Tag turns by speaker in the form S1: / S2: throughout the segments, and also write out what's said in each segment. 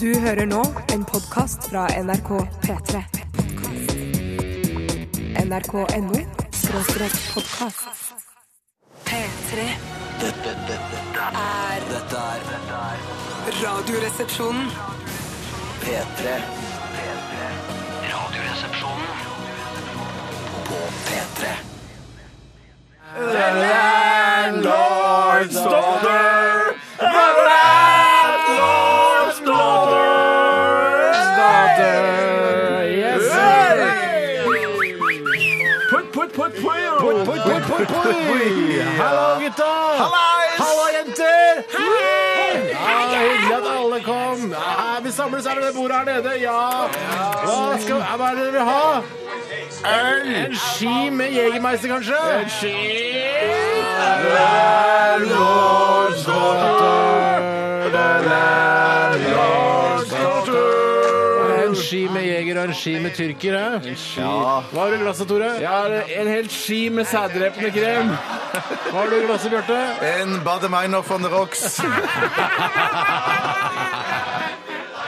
S1: Du hører nå en podkast fra NRK P3. NRK.no skråstrek podkast. P3
S2: Dette, dette,
S1: er
S2: dette er
S1: Radioresepsjonen.
S2: P3. P3. Radioresepsjonen på P3.
S3: Hallo, gutta! Hallo, jenter! Ja, hyggelig at alle kom. Ja, vi samles her ved det bordet her nede. Ja. Hva, skal, ja, hva er det dere vil ha? Øl! En ski med Jegermeister, kanskje? En ski En ski med jeger og en ski med tyrker, hæ? Hva har du i glasset, Tore? Jeg har en hel ski med sæddrepende krem. Hva har du i glasset, Bjarte?
S4: En Bademiner von the Rocks.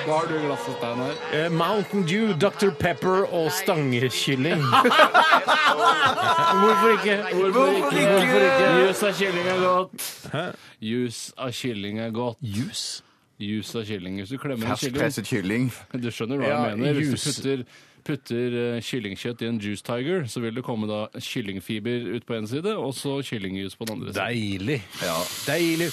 S3: Hva har du i glasset, Steinar?
S5: Eh,
S3: Mountain Dew, Dr. Pepper og stangekylling. Hvorfor ikke?
S4: Hvorfor ikke?
S5: Jus av kylling er godt. Jus av kylling er godt. Jus? Jus av kylling. Hvis du klemmer en kylling
S4: Ferskpresset kylling.
S5: Du skjønner hva
S3: Ja,
S5: jeg mener. Hvis
S3: juice.
S5: du putter, putter eh, kyllingkjøtt i en juice tiger, så vil det komme da kyllingfiber ut på en side, og så kyllingjus på den andre siden.
S3: Deilig. Deilig.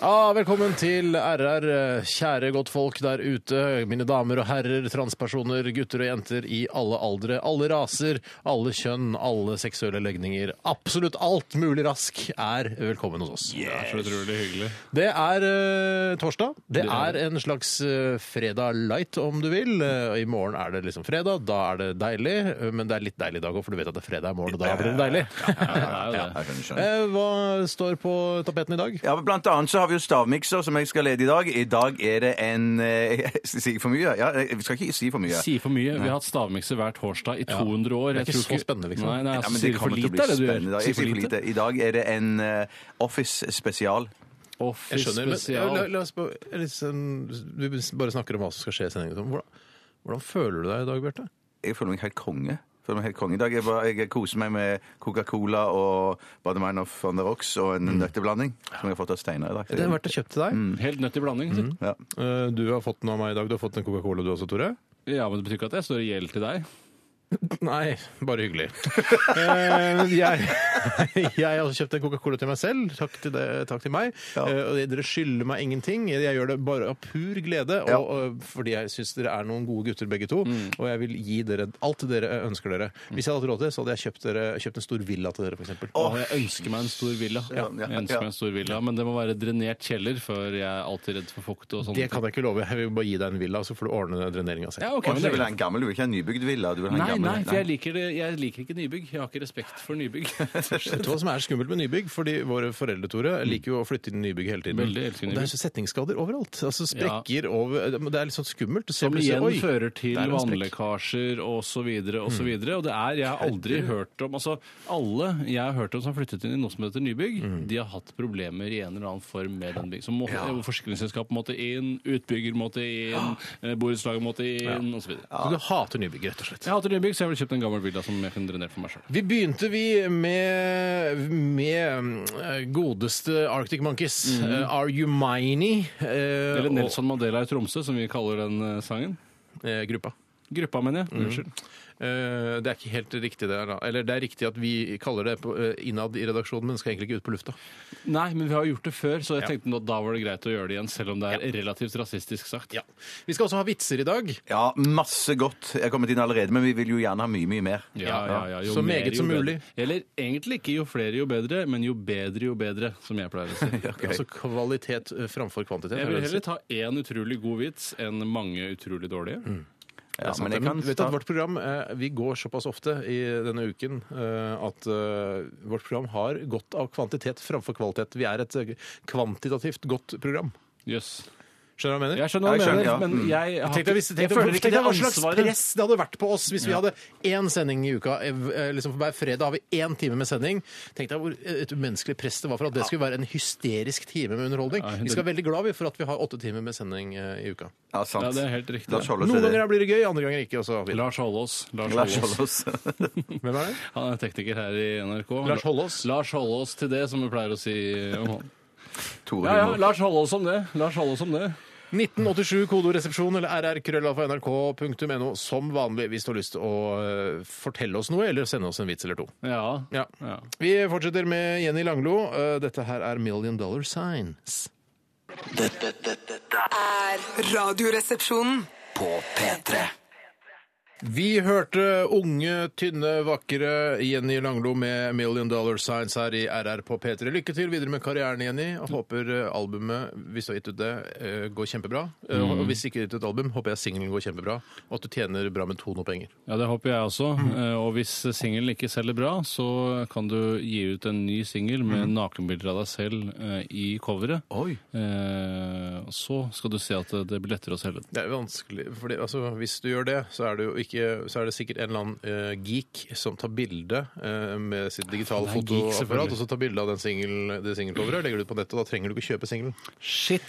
S3: Ah, velkommen til RR, kjære godtfolk der ute. Mine damer og herrer, transpersoner, gutter og jenter i alle aldre, alle raser, alle kjønn, alle seksuelle legninger. Absolutt alt mulig rask er velkommen hos oss.
S5: Det er så utrolig hyggelig.
S3: Det er eh, torsdag. Det er en slags eh, fredag light, om du vil. Eh, I morgen er det liksom fredag, da er det deilig. eh, Men det er litt deilig i dag òg, for du vet at det er fredag i morgen, og da blir det deilig.
S5: Ja, det er jo det.
S4: Jeg skjønner, skjønner.
S3: Eh, Hva står på tapeten i dag?
S4: Ja, men Blant annet så har vi jo stavmikser, som jeg skal lede i dag. I dag er det en eh, Sier jeg for mye? Ja, eh, vi skal ikke si for mye.
S5: Si for mye. Vi har hatt stavmikser hver torsdag i 200 år.
S3: Det er
S5: Jeg
S3: ikke
S5: tror
S3: så spennende, liksom.
S5: Nei, nei,
S4: Ja,
S5: altså,
S4: men
S5: sier du for
S4: kommer til å
S5: lite,
S4: bli
S5: er det du
S4: spennende i dag.
S5: gjør?
S4: Jeg sier for lite. I dag er det en eh, Office spesial.
S5: Office
S3: Jeg skjønner, men ja,
S5: spesial.
S3: la, la oss bare, liksom, Du bare snakker om hva som skal skje i sendingen. sånn. Hvordan, hvordan føler du deg i dag, Bjarte?
S4: Jeg føler meg helt konge. Jeg Føler meg helt konge i dag. Jeg, bare, jeg koser meg med Coca-Cola og Bademiner von the Rocks og
S5: Mm.
S4: en nøtteblanding som jeg har fått av Steinar i dag.
S3: Det har vært kjøpt til deg.
S5: Helt nødt i blanding. sier du.
S4: Ja.
S3: Mm. Eh, Du har fått den av meg i dag. Du har fått en Coca-Cola du også, Tore?
S5: Ja, men det betyr ikke at jeg står i gjeld til deg.
S3: Nei, bare hyggelig. Eh, jeg, jeg har også kjøpt en Coca-Cola til meg selv. Takk til, det, takk til meg. Eh, og dere skylder meg ingenting. Jeg gjør det bare av pur glede, og, og eh, fordi jeg syns dere er noen gode gutter begge to. Og jeg vil gi dere alt dere ønsker dere. Hvis jeg hadde hatt råd til det, så hadde jeg kjøpt, dere, kjøpt en stor villa til dere, f.eks.
S5: Og jeg ønsker meg en stor villa.
S4: Ja, ja,
S5: jeg ønsker
S4: ja.
S5: meg en stor villa, Men det må være drenert kjeller, for jeg er alltid redd for fukt og sånt.
S3: Det kan jeg ikke love. Jeg vil bare gi deg en villa, så får du ordne dreneringa
S5: Ja,
S3: selv.
S5: ok, men
S4: du
S5: det
S4: vil ha en gammel, du vil ikke ha en nybygd villa? Du vil ha en
S5: Nei,
S4: gammel,
S5: nei, for jeg liker, det, jeg liker ikke nybygg. Jeg har ikke respekt for nybygg.
S3: Vet du hva som er skummelt med nybygg? Fordi våre foreldre Tore, liker jo å flytte inn i Mm. nybygg hele tiden.
S5: Veldig elsker
S3: og det er så setningsskader overalt. Altså sprekker over Det er litt sånn skummelt. Du ser
S5: Som
S3: plutselig,
S5: igjen
S3: oi,
S5: fører til
S3: der er en Mm. sprekk.
S5: vannlekkasjer osv. osv. Og det er Jeg har aldri hørt om Altså, alle jeg har hørt om som har flyttet inn i noe som heter nybygg,
S3: Mm.
S5: de har hatt problemer i en eller annen form med den bygg. Så må, eh, forsikringsselskap måtte inn, utbygger måtte inn, eh, borettslaget måtte inn, osv.
S3: Så du hater nybygg, rett og slett.
S5: Jeg hater nybygg, så jeg ville kjøpt en gammel villa som jeg kunne drenert for meg sjøl.
S3: Vi begynte vi med, med eh, godeste Arctic Monkeys. Eh, Are You Miney? eh,
S5: Eller
S3: og-
S5: Nelson Mandela i Tromsø, som vi kaller den eh, sangen.
S3: eh, gruppa.
S5: Gruppa, mener
S3: Mm.
S5: jeg. Unnskyld.
S3: Eh, det er ikke helt riktig, det. her da. Eller det er riktig at vi kaller det på, eh, innad i redaksjonen, men det skal egentlig ikke ut på lufta.
S5: Nei, men vi har gjort det før, så jeg
S3: Ja.
S5: tenkte nå, da var det greit å gjøre det igjen, selv om det er relativt rasistisk sagt.
S3: Ja. Vi skal også ha vitser i dag.
S4: Ja, masse godt er kommet inn allerede, men vi vil jo gjerne ha mye, mye mer.
S5: Ja, ja, ja. Jo
S3: Så
S5: mer,
S3: meget
S5: jo
S3: som
S5: bedre.
S3: mulig.
S5: Eller egentlig ikke jo flere, jo bedre, men jo bedre, jo bedre, som jeg pleier å si.
S4: Ok.
S3: Altså kvalitet eh, framfor kvantitet.
S5: Jeg vil
S3: er det
S5: heller
S3: det
S5: ta én utrolig god vits enn mange utrolig dårlige.
S4: Ja, men jeg
S3: Men
S4: kan
S3: vet du
S4: ta-
S3: at vårt program, eh, Vi går såpass ofte i denne uken eh, at eh, vårt program har godt av kvantitet framfor kvalitet. Vi er et eh, kvantitativt godt program.
S5: Jøss.
S3: Skjønner du hva jeg mener?
S5: Jeg skjønner hva du
S4: Jeg skjønner,
S5: mener,
S4: ja.
S5: men
S4: Mm.
S5: jeg, har
S3: Tenk deg hvis,
S5: ikke-
S3: tenk
S5: jeg
S3: deg-
S5: føler
S3: tenk
S5: ikke det
S3: deg hva slags press
S5: ansvaret.
S3: det hadde vært på oss hvis vi hadde én sending i uka. ev- eh, Liksom hver fredag har vi én time med sending. Tenk deg hvor eh, et umenneskelig press det var for at det skulle være en hysterisk time med underholdning.
S5: Ja,
S3: Vi skal være veldig glad vi, for at vi har åtte timer med sending eh, i uka.
S4: Ja, sant.
S5: Ja, det er helt riktig.
S4: La oss holde oss
S3: Noen
S4: til det.
S3: ganger blir det gøy, andre ganger ikke. Og så videre.
S5: Lars Hollås. Lars
S4: La oss
S5: Hollås.
S4: holde oss.
S3: Hvem er det?
S5: Han er tekniker her i NRK.
S3: Lars Hollås.
S5: Lars Hollås til det, som vi pleier å si om han.
S4: Tore
S5: Ja, ja,
S4: Humor.
S5: Lars Hollås om det. Lars Hollås om det.
S3: 1987 kodoresepsjon eller rrkrøllalfa.nrk.no som vanlig hvis du har lyst til å eh, fortelle oss noe eller sende oss en vits eller to.
S5: Ja.
S3: Ja.
S5: Ja.
S3: Vi fortsetter med Jenny Langlo. Eh, Dette her er Million Dollar Signs.
S2: Dette, dette, dette er
S1: Er Radioresepsjonen.
S2: på P3.
S3: Vi hørte unge, tynne, vakre Jenny Langlo med Million Dollar Signs her i RR på P3. Lykke til videre med karrieren, Jenny. og Håper eh, albumet, hvis du har gitt ut det, eh, går kjempebra. Eh,
S5: Mm.
S3: Og hvis ikke du har gitt ut album, håper jeg singelen går kjempebra, og at du tjener bra med Tono penger.
S5: Ja, Det håper jeg også. Eh, Og hvis singelen ikke selger bra, så kan du gi ut en ny singel med nakenbilder av deg selv eh, i coveret.
S4: Oi.
S5: Eh, og Så skal du se at det- det blir lettere å selge den.
S3: Det er vanskelig, fordi, altså, Hvis du gjør det, så er det, jo ikke, så er det sikkert en eller annen eh, geek som tar bilde eh, med sitt digitale
S5: Det er en geek, selvfølgelig.
S3: fotoapparat, og så tar bilde av den singel- det singelcoveret og legger det ut på nettet. og Da trenger du ikke kjøpe singelen.
S5: Shit!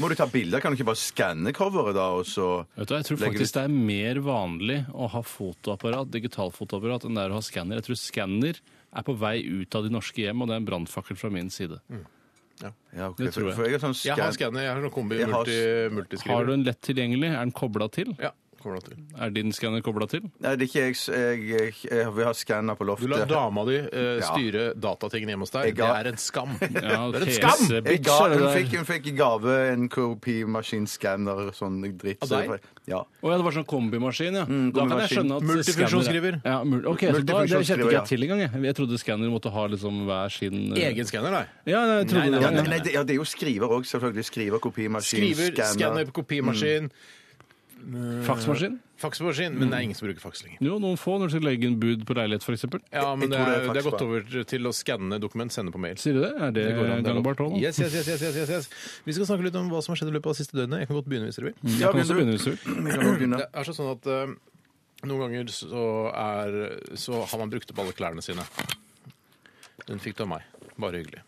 S4: Må du ta bilder? Kan du ikke bare skanne coveret, da, og så
S5: Vet du, hva, jeg tror
S4: legger
S5: faktisk det er mer vanlig å ha fotoapparat, digitalfotoapparat enn det er å ha skanner. Jeg tror skanner er på vei ut av de norske hjem, og det er en brannfakkel fra min side.
S4: Ja, ok,
S5: Det
S4: for-
S5: tror jeg.
S4: For jeg har sånn
S3: Jeg har
S4: skann...
S3: skanner. Jeg har sånn kombi
S4: Jeg har-
S3: multi, multiskriver.
S5: Har du en lett tilgjengelig? Er den kobla til?
S3: Ja, kommer da til.
S5: Er din skanner kobla til?
S4: Nei, det er ikke jeg. s- jeg, jeg, jeg vi har skanner
S3: Du
S4: på loftet.
S3: lar dama di eh,
S4: Ja.
S3: styre datatingene hjemme hos deg.
S4: Jeg
S3: Det
S4: ga-
S3: er en skam.
S5: Ja,
S3: Det er en
S5: PC,
S3: skam!
S4: Jeg
S5: bitch,
S4: ga,
S5: er det
S4: hun,
S5: der.
S4: fikk, hun fikk i gave en kopimaskinskanner, sånn dritt.
S3: Av
S4: så
S3: deg?
S4: jeg- Ja.
S5: Å ja, det var sånn kombimaskin, ja. da kan jeg
S4: kombimaskin.
S5: skjønne at
S3: Multifunksjonsskriver.
S5: skanner- Ja, mul ok, så da, det kjente
S4: Multifunksjonsskriver,
S5: ikke
S4: ja.
S5: jeg til engang. Jeg, jeg trodde skanner måtte ha liksom hver sin eh,
S3: Egen skanner, nei.
S5: Ja, nei, jeg trodde
S3: Nei,
S4: Ja,
S5: det
S4: nei,
S5: var
S4: nei, det, ja, det er jo skriver òg, selvfølgelig. Skriver, kopimaskin,
S3: Skriver, skanner, Mm.
S4: skanner.
S3: kopimaskin,
S5: faksmaskin.
S3: faksmaskin. Men det er ingen som bruker faks lenger.
S5: Jo, noen få når du skal legge inn bud på leilighet, f.eks.
S3: Ja, men det
S4: tror det
S3: er,
S4: er
S3: det er
S4: faks,
S3: gått
S4: da.
S3: over til å skanne dokument, sende på Eh, mail.
S5: Sier du det? Er det,
S3: Det går an, det er lov.
S5: gangbart òg?
S3: Yes, yes, yes, yes, yes, yes, yes. Vi skal snakke litt om hva som har skjedd i løpet av det siste døgnet. Jeg kan godt begynne hvis dere vil.
S4: Ja,
S5: Jeg kan også
S4: begynner
S5: begynne hvis du vil.
S4: Vi kan jo begynne.
S3: Det er sånn at eh, noen ganger så, er, så har man brukt opp alle klærne sine. Den fikk du av meg. Bare hyggelig.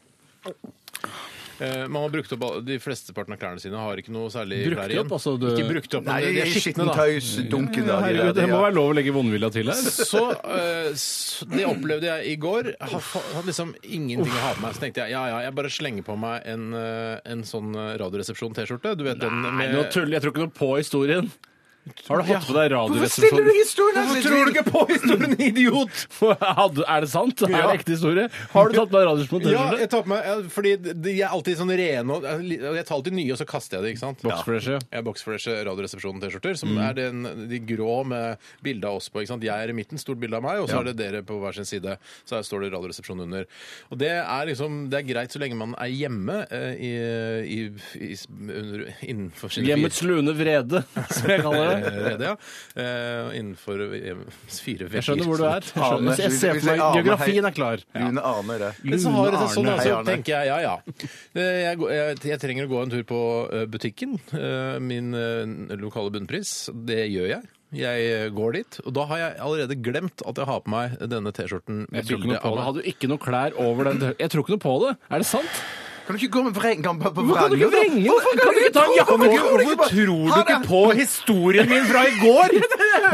S3: Eh, man har brukt opp alle, De flesteparten av klærne sine har ikke noe særlig
S5: Brukt
S3: klær igjen.
S5: opp, altså, du-
S3: Ikke brukt opp,
S4: Nei,
S3: men de- de er skitne, da.
S4: skittentøysdunken.
S5: Ja, herregud, det må være lov å legge vondvilja til her.
S3: Så eh, s- Det opplevde jeg i går. Jeg Har fa- hadde liksom ingenting å ha på meg. Så tenkte jeg ja, ja, jeg bare slenger på meg en, eh, en sånn eh, Radioresepsjon-T-skjorte. Du vet den
S5: Nei,
S3: med
S5: nå tuller jeg. tror ikke noe på historien. Har du
S3: Ja.
S5: hatt på deg
S4: stiller du
S5: radioresepsjonen?
S4: historien?
S3: Hvorfor tror du ikke på historien, idiot?
S5: Hadde- Er det sant? Er
S3: Ja.
S5: det ekte historie? Har du tatt på deg radioresepsjonen?
S3: Ja, jeg tar på meg, ja, fordi de er alltid sånn rene og Jeg tar alltid nye, og så kaster jeg det, ikke sant?
S5: Boxfresh, ja.
S3: Jeg har Boxfresh Radioresepsjonen-T-skjorter,
S5: Mm.
S3: som er den, de grå med bilde av oss på. ikke sant? Jeg er i midten, stort bilde av meg, og så er det dere på hver sin side. Så her står det Radioresepsjonen under. Og det er liksom, det er greit så lenge man er hjemme eh, i, i, i, under, innenfor sine
S5: Hjemmets lune vrede, som jeg kaller det.
S3: Rede, ja. Eh, innenfor hjemmets fire vegger.
S5: Jeg skjønner hvor du er. Jeg, skjønner.
S4: Arne.
S5: jeg ser for meg Geografien er klar.
S4: Lune Arne, det.
S3: Men så har det seg sånn,
S5: Lune Arne.
S3: altså,
S4: Hei, Arne.
S3: tenker jeg, ja, ja. Eh, Jeg, går- jeg, jeg trenger å gå en tur på eh, butikken, eh, min eh, lokale bunnpris. Det gjør jeg. Jeg eh, går dit, og da har jeg allerede glemt at jeg har på meg denne T-skjorten
S5: Jeg
S3: med
S5: tror ikke
S3: bilde
S5: noe på
S3: av
S5: det.
S3: meg.
S5: Hadde du ikke noe klær over den Jeg tror ikke noe på det. Er det sant?
S4: Kan du ikke gå med vreng... Kan, på, på
S5: Hvorfor kan du ikke
S4: vrenge, da?
S5: vrenge den?
S4: Hvorfor
S5: Kan du ikke ta en jakke
S4: Hvorfor
S5: på?
S4: kan du ikke
S5: Hvorfor
S4: bare-
S5: tror du
S4: Ha
S5: ikke
S4: det.
S5: på historien min fra i går?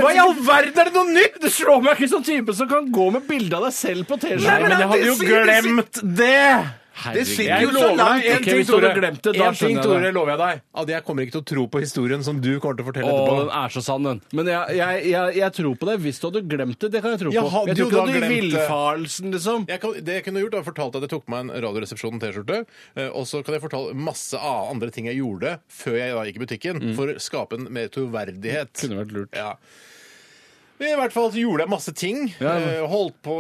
S5: Hva i all verden er det noe nytt?! Det slår meg ikke som type som kan gå med bilde av deg selv på T-skjorta.
S4: Nei, men jeg hadde jo glemt
S5: det!
S4: Det sitter
S5: jeg
S4: jo så
S5: lover
S4: langt.
S5: deg
S4: Ok,
S5: en ting,
S4: hvis
S5: Tore.
S4: du hadde
S5: Glemt det, da
S3: En ting,
S5: skjønner
S3: Tore,
S5: jeg det.
S3: lover jeg deg, at jeg kommer ikke til å tro på historien som du kommer til å fortelle
S5: Å, den
S3: etterpå.
S5: er så sann, den. Men jeg, jeg, jeg, jeg tror på deg. Hvis du hadde glemt det, det kan jeg tro på.
S3: Jeg hadde
S5: Jeg
S3: jo
S5: tror ikke
S3: da
S5: du hadde
S3: glemt det.
S5: villfarelsen, liksom.
S3: Jeg kan, det jeg kunne gjort, var fortalt at jeg tok på meg en Radioresepsjonen-T-skjorte. eh, Og så kan jeg fortelle masse av andre ting jeg gjorde før jeg da gikk i butikken, for å skape en mer troverdighet.
S5: Mm. Kunne vært lurt.
S3: Ja. Men I hvert fall så gjorde jeg masse ting.
S5: Ja.
S3: eh, Holdt på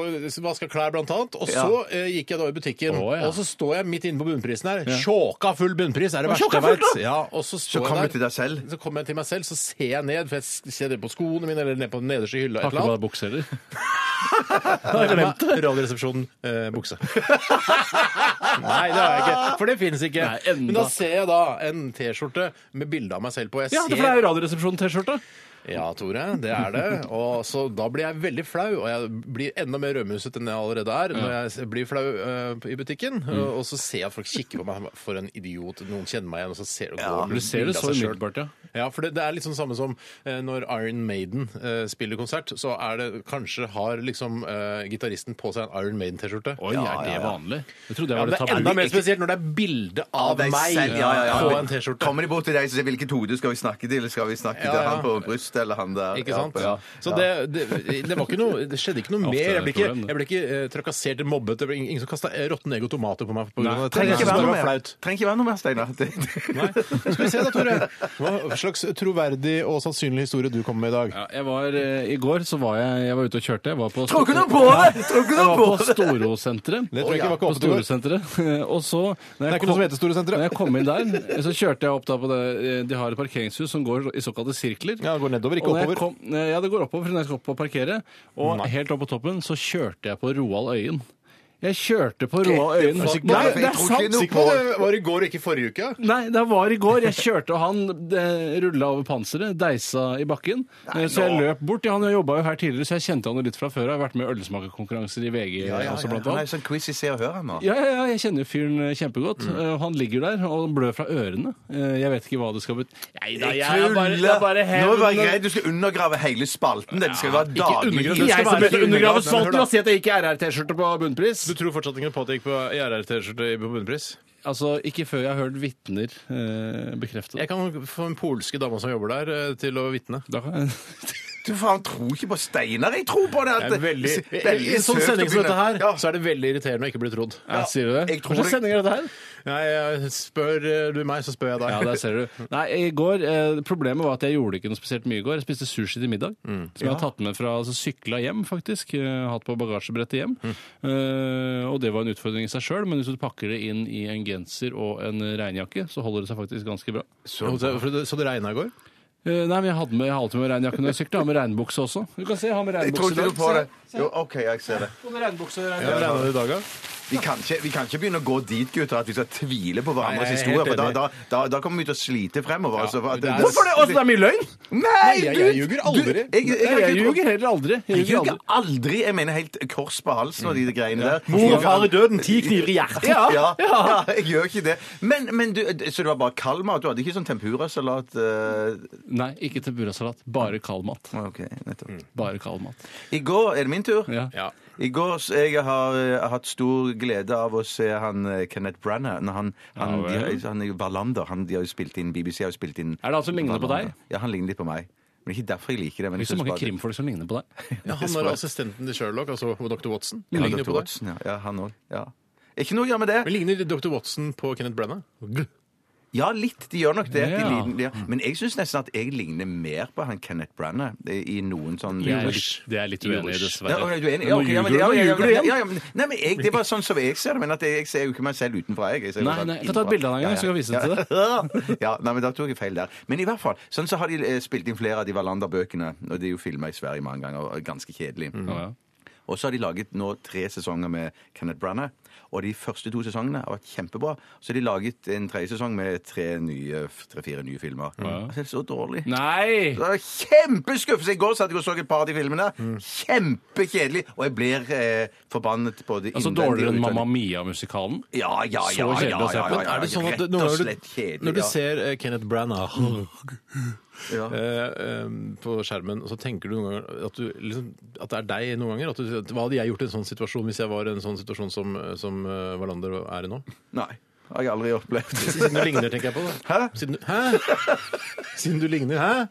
S3: Vaska klær, blant annet. Og så eh, gikk jeg da i butikken,
S5: Å, ja.
S3: og så står jeg midt inne på bunnprisen her. Tjåka full bunnpris er det verste
S5: tjåka
S3: jeg vet.
S5: full,
S3: Ja, og så står
S4: Så kom
S3: jeg der.
S4: du til deg selv.
S3: Så kommer jeg til meg selv, så ser jeg ned, for jeg ser ned på skoene mine eller ned på den nederste hylla.
S5: Har
S3: Et
S5: ikke
S3: eller
S5: på
S3: annet.
S5: deg bukse heller.
S3: Radioresepsjonen eh, bukse. Nei, det har jeg ikke. For det fins ikke.
S5: Nei, enda.
S3: Men da ser jeg da en T-skjorte med bilde av meg selv på. Jeg
S5: Ja, for det
S3: ser
S5: er jo Radioresepsjonen-T-skjorte.
S3: Ja, Tore, det er det. Og så da blir jeg veldig flau, og jeg blir enda mer rødmuset enn jeg allerede er når jeg s- blir flau øh, i butikken.
S5: Mm.
S3: Og, og så ser jeg at folk kikker på meg for en idiot. Noen kjenner meg igjen, og så ser og går
S5: Du
S3: med
S5: ser
S3: bilde av
S5: det så
S3: seg selv.
S5: umiddelbart, ja.
S3: Ja, for det, det er litt sånn samme som eh, når Iron Maiden eh, spiller konsert, så er det kanskje har liksom eh, gitaristen på seg en Iron Maiden-T-skjorte.
S5: Oi, er det vanlig? Jeg trodde
S3: Ja, men
S5: jeg var
S3: det
S5: litt
S3: er enda mer
S5: tabu.
S3: spesielt når det er bilde av
S4: deg
S3: meg
S4: selv, ja, ja, ja.
S3: på en T-skjorte.
S4: Kommer de bort til deg og sier 'hvilket hode skal vi snakke til'? Skal vi snakke
S3: Ja,
S4: til
S3: ja.
S4: han på brystet eller han der?
S3: Ikke sant?
S4: Ja,
S3: Så det, det, det var ikke noe Det skjedde ikke noe
S5: Ofte
S3: mer.
S5: er det
S3: Jeg ble ikke,
S5: problem, det.
S3: jeg ble ikke eh, trakassert eller mobbet. Det ble ingen ingen som kasta råtne egg og tomater på meg. På grunn av dette.
S4: Trenger
S3: Jeg
S4: ikke
S3: synes
S4: være noe
S3: det var
S4: mer,
S3: flaut.
S4: Trenger ikke være noe mer, Steinar. Det- det-
S3: Nei. Skal vi se da, Tore. Hva slags troverdig og sannsynlig historie du kommer med i dag?
S5: Ja, jeg var, eh, I går så var jeg, jeg var ute og kjørte. Jeg var på,
S4: Tror ikke noe på det! Tror ikke
S5: jeg
S4: noe
S5: var på
S4: på det!
S5: Storosenteret.
S3: Det tror jeg ikke var ikke
S5: På
S3: oppe til går.
S5: Storosenteret. Eh, Og så Det
S3: er ikke noe som heter Storosenteret.
S5: Når jeg kom inn der, så kjørte jeg opp da på det eh, De har et parkeringshus som går i såkalte sirkler.
S3: Ja, det går nedover, ikke
S5: Og når jeg
S3: oppover.
S5: Kom, eh, ja, det går oppover når jeg skal opp og parkere. Og helt opp på toppen så kjørte jeg på Roald Øyen. Jeg kjørte på Roald Øyen.
S4: faktisk
S5: Nei,
S4: bare-
S5: det
S4: jeg
S5: er
S4: tror
S5: sant!
S4: ikke noe
S3: Sikker på at det var i går og ikke i forrige uke?
S5: Nei, det var i går. Jeg kjørte, og han rulla over panseret, deisa i bakken. Eh, så jeg
S4: nå.
S5: løp bort. Ja, han jobba jo her tidligere, så jeg kjente han jo litt fra før. Jeg har vært med i ølsmakerkonkurranser i VG
S4: Ja, ja, ja.
S5: også, blant
S4: Han er
S5: annet.
S4: sånn quiz i Se og Hør, han nå.
S5: Ja, ja, ja, jeg kjenner jo fyren eh, kjempegodt. Eh, Han ligger der og blør fra ørene. Eh, Jeg vet ikke hva det skal bety. Nei da, jeg er bare, det er bare
S4: Nå er jeg bare
S5: hevn.
S4: redd du skal undergrave hele spalten. Det skal være daglig.
S5: Ikke jeg som begynte å undergrave
S3: Nei, men hør
S5: spalten
S3: da.
S5: og si at jeg ikke er RR-T-skjorte på bunnpris.
S3: Du tror fortsatt ikke på at det gikk på RR-T-skjorte på bunnpris?
S5: Altså, ikke før jeg har hørt vitner eh, bekrefte det.
S3: Jeg kan få en polske dame som jobber der, eh, til å vitne.
S5: Da kan jeg...
S4: Du faen tror ikke på Steinar. Jeg tror på det! at-
S3: Det er veldig,
S4: Veldig
S3: I en sånn
S4: søkt å
S3: sending som
S4: begynne.
S3: dette her,
S4: Ja.
S3: så er det veldig irriterende å ikke bli trodd.
S5: Ja, sier du det?
S4: jeg tror
S5: Hva
S4: det-
S5: slags sending er dette her?
S3: Nei, jeg- spør eh, du meg, så spør jeg deg.
S5: Ja, der ser du. Nei, i går, eh, Problemet var at jeg gjorde ikke noe spesielt mye i går. Jeg spiste sushi til middag. Som jeg har tatt med fra altså, sykla hjem, faktisk. eh, Hatt på bagasjebrettet hjem. Eh, og det var en utfordring i seg sjøl, men hvis du pakker det inn i en genser og en regnjakke, så holder det seg faktisk ganske bra.
S3: Så, for det- så det regna i går?
S5: Eh, nei, men jeg hadde med, jeg har alltid med regnjakke når jeg sykler. Jeg har med regnbukse også. Du kan se, jeg har med
S4: Jeg tror
S5: regnbukse i
S4: ikke
S5: dag.
S4: du på det. Jo, OK, jeg ser det.
S5: Se, både regnbukse og regnjakke.
S3: Ja, regna det i dag, ja.
S4: Vi kan, ikke, vi kan ikke begynne å gå dit, gutter, at vi skal tvile på
S3: Nei,
S4: hverandres
S3: jeg er
S4: historier.
S3: helt
S4: For da,
S3: enig.
S4: da, da, da kommer vi til å slite fremover. altså, for at
S3: det er-
S5: Hvorfor det? Også, det er mye løgn!
S4: Nei,
S3: jeg-
S4: du-
S3: jeg ljuger aldri.
S4: Du, jeg, jeg,
S5: Jeg,
S4: jeg,
S5: ljuger heller aldri.
S4: Jeg
S5: ljuger
S4: ljuger
S5: aldri.
S4: aldri. Jeg mener helt kors på halsen og de
S3: Mm.
S4: greiene der.
S3: døden, ti kniver i hjertet.
S4: Ja, ja, ja, jeg gjør ikke det. Men, men du, Så det var bare kald mat? Du hadde ikke sånn tempurasalat? eh,
S5: Nei, ikke til burasalat. Bare kald mat.
S4: OK, nettopp.
S5: Bare kald mat.
S4: I går er det min tur.
S5: Ja.
S3: Mm. Ja.
S4: I går så jeg har eh, hatt stor glede av å se han eh, Kenneth Branagh. Når han, han,
S5: Ja, vel.
S4: de, har- han er jo Wallander. Han, de har jo spilt inn BBC har jo spilt inn
S5: Er det han som ligner på
S4: Wallander.
S5: deg?
S4: Ja, han ligner litt på meg. Men ikke derfor jeg liker det. Men
S5: Det er ikke så
S4: jeg
S5: mange
S4: synes bare-
S5: krimfolk som ligner på deg.
S3: Ja, han var assistenten til Sherlock, altså dr. Watson.
S4: Ja,
S3: Ligner
S4: Dr.
S3: på det.
S4: Watson, ja. ja, han òg. Ja. Ikke noe å gjøre med det.
S3: Men ligner dr. Watson på Kenneth Branagh? G.
S4: Ja, litt. De gjør nok det. De
S5: Ja.
S4: ligner- ja. Men jeg syns nesten at jeg ligner mer på han Kenneth Branagh eh, i noen sånn
S5: Jeg er
S4: Ja,
S5: litt- Det er jeg litt uenig i, dessverre.
S4: å, er du enig? Ja,
S5: Nå
S4: ok, ja, men-
S5: ljuger du,
S4: ja, ja,
S5: nå
S4: ja,
S5: ljuger du
S4: ja,
S5: igjen.
S4: ja, men- Nei, men jeg, Det er bare sånn som jeg ser det. Men at jeg, jeg ser jo ikke meg selv utenfra. Jeg, jeg ser jo
S5: Nei,
S4: bare
S5: nei, jeg får ta et
S4: innenfra.
S5: bilde av deg en gang, så jeg kan vise det
S4: Ja, ja, nei, men Da tok jeg feil der. Men i hvert fall, sånn så har de eh, spilt inn flere av de Wallander-bøkene. Og det er jo filma i Sverige mange ganger, og er ganske kjedelig.
S5: Ja, ja.
S4: Og så har de laget nå tre sesonger med Kenneth Branagh. Og de første to sesongene har vært kjempebra. Så har de laget en tredje sesong med tre nye, tre-fire nye filmer. Altså, det er så dårlig.
S5: Nei!
S4: Det er Kjempeskuffelse! I går satt jeg og så et par av de filmene. Kjempekjedelig! Og jeg blir eh, forbannet på det
S5: Altså
S4: innvendige
S5: Dårligere enn
S4: og
S5: Mamma
S4: utvendige.
S5: Mia-musikalen?
S4: Ja, ja, ja.
S5: Så kjedelig
S4: ja,
S5: å se
S4: ja,
S5: på.
S4: ja, ja,
S3: Er det sånn at
S4: rett
S3: når
S4: og
S3: du-
S4: slett kjedelig.
S3: Når du
S4: ja.
S3: ser eh, Kenneth Branagh
S4: Ja.
S3: eh, eh, på skjermen, så tenker du noen ganger at, du, liksom, at det er deg noen ganger? At du, at, hva hadde jeg gjort i en sånn situasjon hvis jeg var i en sånn situasjon som, som eh, Wallander er i nå?
S4: Nei. Har jeg aldri opplevd.
S3: Siden du ligner, tenker jeg på. Da.
S4: Hæ?
S3: Siden, du- hæ? Siden du ligner, hæ?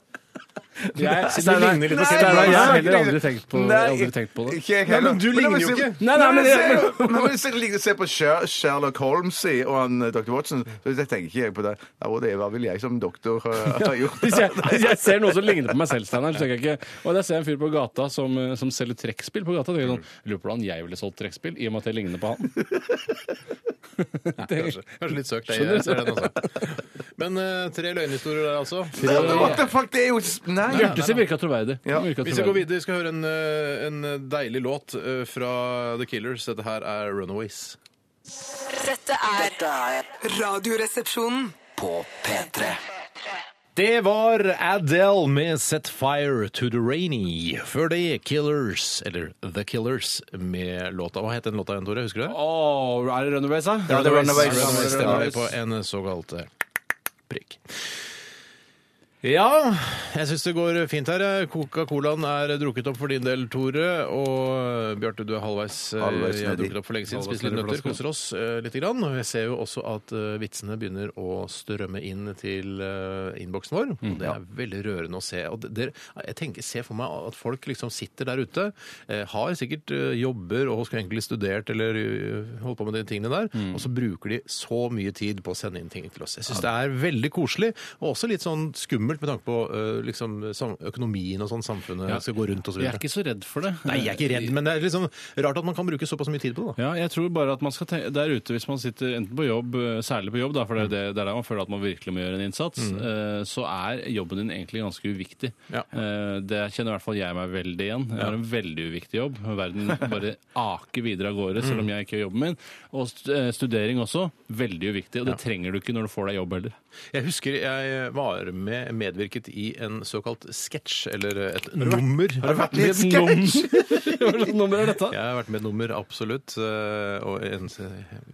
S5: Jeg-
S3: Siden du
S5: Steinar-
S3: ligner litt på Kenneth
S5: Nei, Steinar, jeg har
S3: Branagh.
S5: heller aldri tenkt på-
S4: Nei,
S5: aldri tenkt på det.
S4: Ikke jeg
S3: Nei,
S4: heller.
S3: men du ligner jo ikke.
S5: Nei, nei, men-
S4: jeg ser- men jeg ser- ligner- ser på Sher- Sherlock Holmes i, og han, eh, Dr. Watson, så jeg tenker ikke jeg på det. Ja, og det hva vil jeg som doktor eh, ha gjort?
S5: Hvis jeg, hvis jeg ser noe som ligner på meg selv, Steinar, så tenker jeg ikke Og jeg ser jeg en fyr på gata som, eh, som selger trekkspill på gata. tenker jeg sånn, Lurer på hvordan jeg ville solgt trekkspill, i og med at jeg ligner på han.
S3: Kanskje, kanskje litt søkt. Jeg,
S5: Skjønner du?
S3: jeg ser den også. Men eh, tre løgnhistorier der, altså.
S4: What the fuck, det er jo Nei!
S5: Bjarte sin virka troverdig.
S4: Ja.
S5: Den virka
S3: Vi skal gå
S5: troverdig.
S3: videre. Vi skal høre en, eh, en deilig låt eh, fra The Killers. Dette her er Runaways.
S6: Dette er
S2: Dette er
S6: Radioresepsjonen.
S2: på P3.
S3: Det var Adele med 'Set Fire to the Rainy'. Før det Killers, eller The Killers, med låta Hva het den låta igjen, Tore? Husker du det?
S5: Åh, er det Runaways, da?
S4: Ja, det er Runaways.
S3: Runaways stemmer det på en såkalt eh, prikk. Ja, jeg syns det går fint her. Coca-Colaen er drukket opp for din del, Tore. Og Bjarte, du er halvveis. eh,
S4: Halvveis
S3: jeg har
S4: nedi.
S3: drukket opp for lenge siden.
S5: Halvveis
S3: Spist litt
S5: nedi
S3: nøtter,
S5: flaska.
S3: koser oss eh, lite grann. Og jeg ser jo også at eh, vitsene begynner å strømme inn til eh, innboksen vår.
S5: Mm,
S3: Og det er veldig rørende å se. Og det, det, jeg tenker, ser for meg at folk liksom sitter der ute, eh, har sikkert eh, jobber og skulle egentlig studert eller eh, holdt på med de tingene der,
S5: Mm.
S3: og så bruker de så mye tid på å sende inn ting til oss. Jeg syns det er veldig koselig, og også litt sånn skummelt med tanke på eh, liksom, sam- økonomien og sånn samfunnet
S5: Ja.
S3: skal gå rundt og så
S5: Jeg er
S3: videre.
S5: ikke så redd for det.
S3: Nei, jeg er ikke redd, men det er liksom rart at man kan bruke såpass mye tid på det. da.
S5: Ja, jeg tror bare at man skal tenke der ute, hvis man sitter enten på jobb, eh, særlig på jobb, da, for det er det, det er der man føler at man virkelig må gjøre en innsats, eh, så er jobben din egentlig ganske uviktig.
S3: Ja.
S5: Eh, Det kjenner i hvert fall jeg meg veldig igjen. Jeg har en veldig uviktig jobb. Verden bare aker videre av gårde, selv om jeg ikke gjør jobben min. Og st- eh, studering også, veldig uviktig, og det trenger du ikke når du får deg jobb heller.
S3: Jeg husker jeg var med, medvirket i en såkalt sketsj, eller et nummer. Har du vært
S4: med i et
S5: sketsj? Hva slags nummer er dette?
S3: Jeg har vært med i et nummer, absolutt. eh, Og en,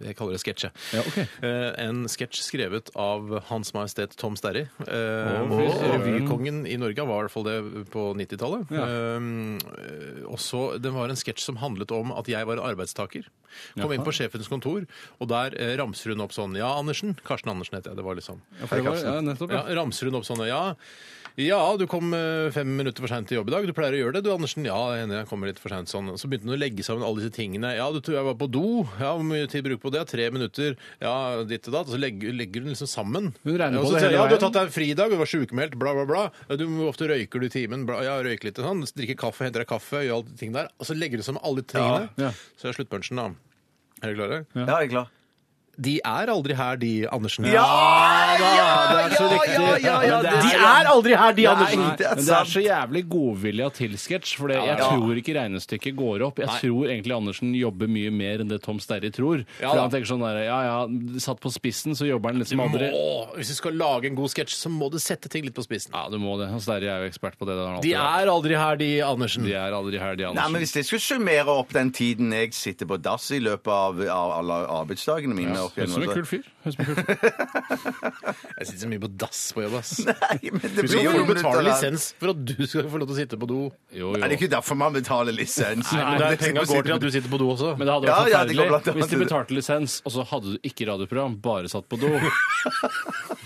S3: jeg kaller det sketsje.
S5: Ja, ok.
S3: Eh, En sketsj skrevet av Hans Majestet Tom Sterry. Eh,
S5: fy søren.
S3: Revykongen i Norge han var i hvert fall det på 90-tallet. Eh, Og så, Det var en sketsj som handlet om at jeg var en arbeidstaker. Kom inn på sjefens kontor, og der eh, ramser hun opp sånn Ja, Andersen. Karsten Andersen het jeg. Det var liksom
S5: Ja, for det var, ja, nettopp,
S3: ja,
S5: ja.
S3: ramser hun opp sånne ja. Ja, du kom eh, fem minutter for seint til jobb i dag. Du pleier å gjøre det, du Andersen. Ja, det hender jeg kommer litt for seint sånn. Så begynte hun å legge sammen alle disse tingene. Ja, du tror jeg var på do. Ja, hvor mye tid bruker du på det? Tre minutter. Ja, ditt og datt. Og så legger, legger hun liksom sammen.
S5: Hun regner
S3: Ja, og så
S5: på det
S3: sier hun,
S5: hele
S3: Ja, du har
S5: veien.
S3: tatt deg en fridag, du var sjukmeldt, bla, bla, bla. Ja, Du, hvor ofte røyker du i timen? Bla, ja, røyker litt sånn. Drikker kaffe, henter deg kaffe, gjør alle de tingene der. Og så legger du sammen alle de tingene.
S5: Ja, ja.
S3: Så er sluttpunchen, da. Er dere klare?
S4: Ja, jeg er klar.
S3: De er aldri her, de, Andersen.
S4: ja,
S3: det er så riktig.
S5: Men det er-
S3: aldri her, de,
S5: Nei,
S4: det er
S5: men det er
S4: sant.
S5: så jævlig godvilja til sketsj, for det- jeg
S4: ja.
S5: tror ikke regnestykket går opp. Jeg tror egentlig Andersen jobber mye mer enn det Tom Sterry tror.
S3: Ja,
S5: for
S3: da.
S5: han tenker sånn der, ja ja, satt på spissen, så jobber han liksom
S3: må,
S5: aldri
S3: hvis du skal lage en god sketsj, så må du sette ting litt på spissen.
S5: Ja, du må det. Han Sterry er jo ekspert på det. det har han
S3: De
S5: alltid vært.
S3: er aldri her, de, Andersen.
S5: de er aldri her, de
S4: Nei, men
S5: Andersen.
S4: Hvis jeg skulle summere opp den tiden jeg sitter på dass i løpet av, av alle arbeidsdagene mine opp
S5: Høres ut som en
S4: gjennom-
S5: kul fyr. Høres ut som en kul fyr.
S3: Jeg sitter så mye på dass på jobb, ass.
S4: Nei, men det
S3: Du
S4: blir
S3: skal
S4: jo
S3: få
S4: noen
S3: betale
S4: minutter der.
S3: lisens for at du skal få lov til å sitte på do.
S5: Jo,
S4: Nei, Det er
S5: jo.
S4: ikke derfor man betaler lisens.
S5: Nei,
S3: Der penga går til at du sitter på do også.
S5: Men det hadde
S4: Ja,
S5: vært
S4: ja, det går
S5: forferdelig
S4: blant annet
S5: hvis de
S4: til det.
S5: betalte lisens, og så hadde du ikke radioprogram, bare satt på do.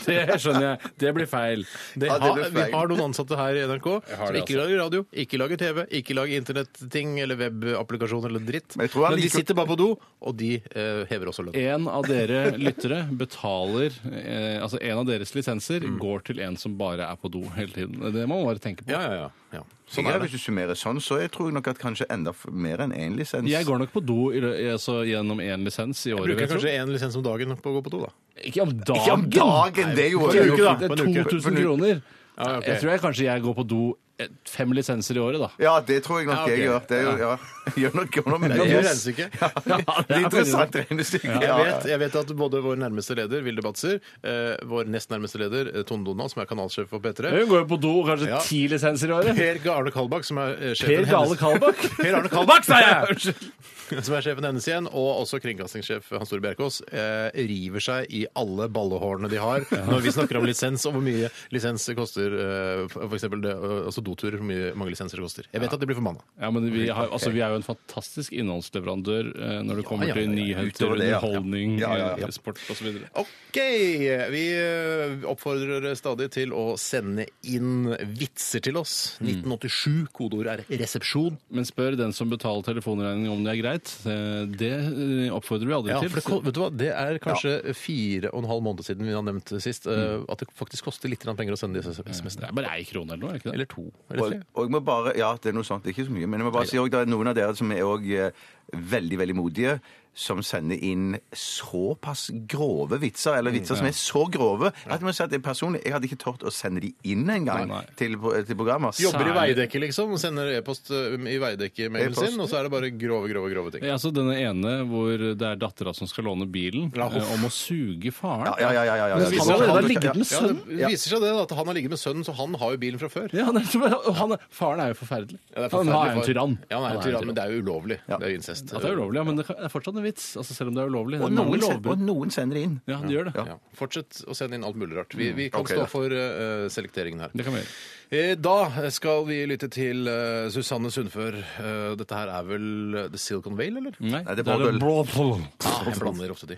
S5: Det skjønner jeg. Det blir feil.
S3: Det
S4: Ja, det
S3: har,
S4: blir
S3: vi
S4: feil.
S3: har noen ansatte her i NRK
S5: har
S3: som
S5: det,
S3: ikke
S5: altså.
S3: lager radio, ikke lager TV, ikke lager internetting eller webapplikasjon eller dritt.
S4: Men
S3: Men,
S4: jeg tror han
S3: de
S4: liker-
S3: sitter bare på do, og de eh, hever også lønn.
S5: En av dere lyttere betaler eh, Altså en av deres lisenser går til en som bare er på do hele tiden. Det må man bare tenke på.
S3: Mm. Ja, ja, ja. ja.
S4: Sånn er det. Hvis du summerer sånn, så jeg tror nok at kanskje enda f- mer enn én lisens.
S5: Jeg går nok på do i, lø- altså, gjennom én lisens i året.
S3: Bruker
S5: vil
S3: kanskje
S5: jeg tro.
S3: én lisens om dagen på å gå på do, da.
S5: Ikke om dagen!
S4: Ikke om dagen! Det er jo
S3: På en uke, da.
S5: Det
S3: På
S5: er
S3: en uke.
S5: 2000
S4: uke.
S5: kroner.
S3: Ja, ok.
S5: Jeg tror jeg kanskje jeg går på do eh, fem lisenser i året, da.
S4: Ja, det tror jeg nok
S3: Ja, ok.
S4: jeg gjør. Det er jo, ja. Gjør nok gjør noe med
S3: Det er jo
S4: det.
S3: regnestykket.
S4: Det er interessant regnestykke.
S3: Jeg
S4: Ja, ja.
S3: vet, jeg vet at både vår nærmeste leder, Vilde Batzer, eh, vår nest nærmeste leder, eh, Tone Donald, som er kanalsjef for P3
S5: Hun går jo på do kanskje
S3: Ja.
S5: ti lisenser i året.
S3: Per Arne Kalbakk, som er eh,
S5: Per
S3: sjefen
S5: Gale
S3: hennes,
S5: Kalbakk.
S3: Per Arne Kalbakk, sa jeg!
S5: Unnskyld.
S3: som er sjefen hennes igjen, og også kringkastingssjef Hans Tore Bjerkås, eh, river seg i alle ballehårene de har når vi snakker om lisens og hvor mye lisens det koster eh, for for eksempel det, eh, altså doturer, hvor mye, mange lisenser det koster. Jeg vet at de blir forbanna.
S5: Ja, men vi, har, altså, vi er jo en fantastisk innholdsleverandør eh, når det kommer
S3: ja, ja,
S5: til
S3: ja.
S5: nyheter,
S4: Utover det, ja.
S5: underholdning,
S4: Ja, ja, ja.
S5: eh, sport osv.
S3: OK! Vi eh, oppfordrer stadig til å sende inn vitser til oss.
S5: Mm.
S3: 1987. Kodeord er 'resepsjon'.
S5: Men spør den som betaler telefonregningen om det er greit. Eh, Det eh, oppfordrer vi aldri
S3: Ja,
S5: til.
S3: for det, ko- vet du hva? det er kanskje fire og en halv måned siden vi har nevnt sist, eh, at det faktisk koster litt grann penger å sende disse
S5: det
S3: SMS-ene.
S5: er bare ei krone eller noe, er det ikke det?
S3: Eller to. Eller
S4: Og,
S3: tre.
S4: og jeg må bare, ja, det er noe sånt, det er ikke så mye, men jeg må bare si også, det er noen av dere som er også eh, veldig, veldig modige. som sender inn såpass grove vitser, eller vitser som er så grove at jeg må si at jeg personlig jeg hadde ikke tort å sende de inn engang
S5: Nei, nei.
S4: til, til programmer.
S3: Jobber i
S5: Særlig.
S3: Veidekke, liksom. Sender e-post ø, i Veidekke-mailen
S4: E-post.
S3: sin, og så er det bare grove, grove grove ting.
S5: Ja, altså denne ene hvor det er dattera som skal låne bilen,
S3: Ja, uff.
S5: eh, om å suge faren.
S4: Ja, ja, ja, ja, ja, ja. Det
S5: Men han
S4: viser-
S5: har allerede
S4: han-
S5: ligget med
S3: Ja,
S5: sønnen.
S3: det viser seg det da, at han har ligget med sønnen, så han har jo bilen fra før.
S5: Ja, det er som- og han er, faren er jo forferdelig.
S3: Ja, det er
S5: han
S3: forferdelig
S5: er jo en
S3: for-
S5: tyrann.
S3: Ja, han er en tyrann, men det er jo ulovlig.
S4: Ja.
S3: Det er jo incest.
S5: Ja, det er ulovlig, ja, men det er fortsatt en vits. Altså, selv om det er ulovlig. Det
S4: Og
S5: er mange
S4: noen, sender, og
S5: lovbrudd.
S4: noen sender det inn.
S5: Ja, det gjør det.
S3: Ja. Fortsett å sende inn alt mulig rart. Vi, vi kan
S4: Ok,
S3: stå
S4: da.
S3: for ø, selekteringen her.
S5: Det kan vi gjøre.
S3: Eh, Da skal vi lytte til eh, Susanne Sundfør. Eh, Dette her er vel eh, The Silicon Vale, eller?
S4: Nei, det er Bobble.
S5: Bobble.
S3: Ja, jeg blander ofte de.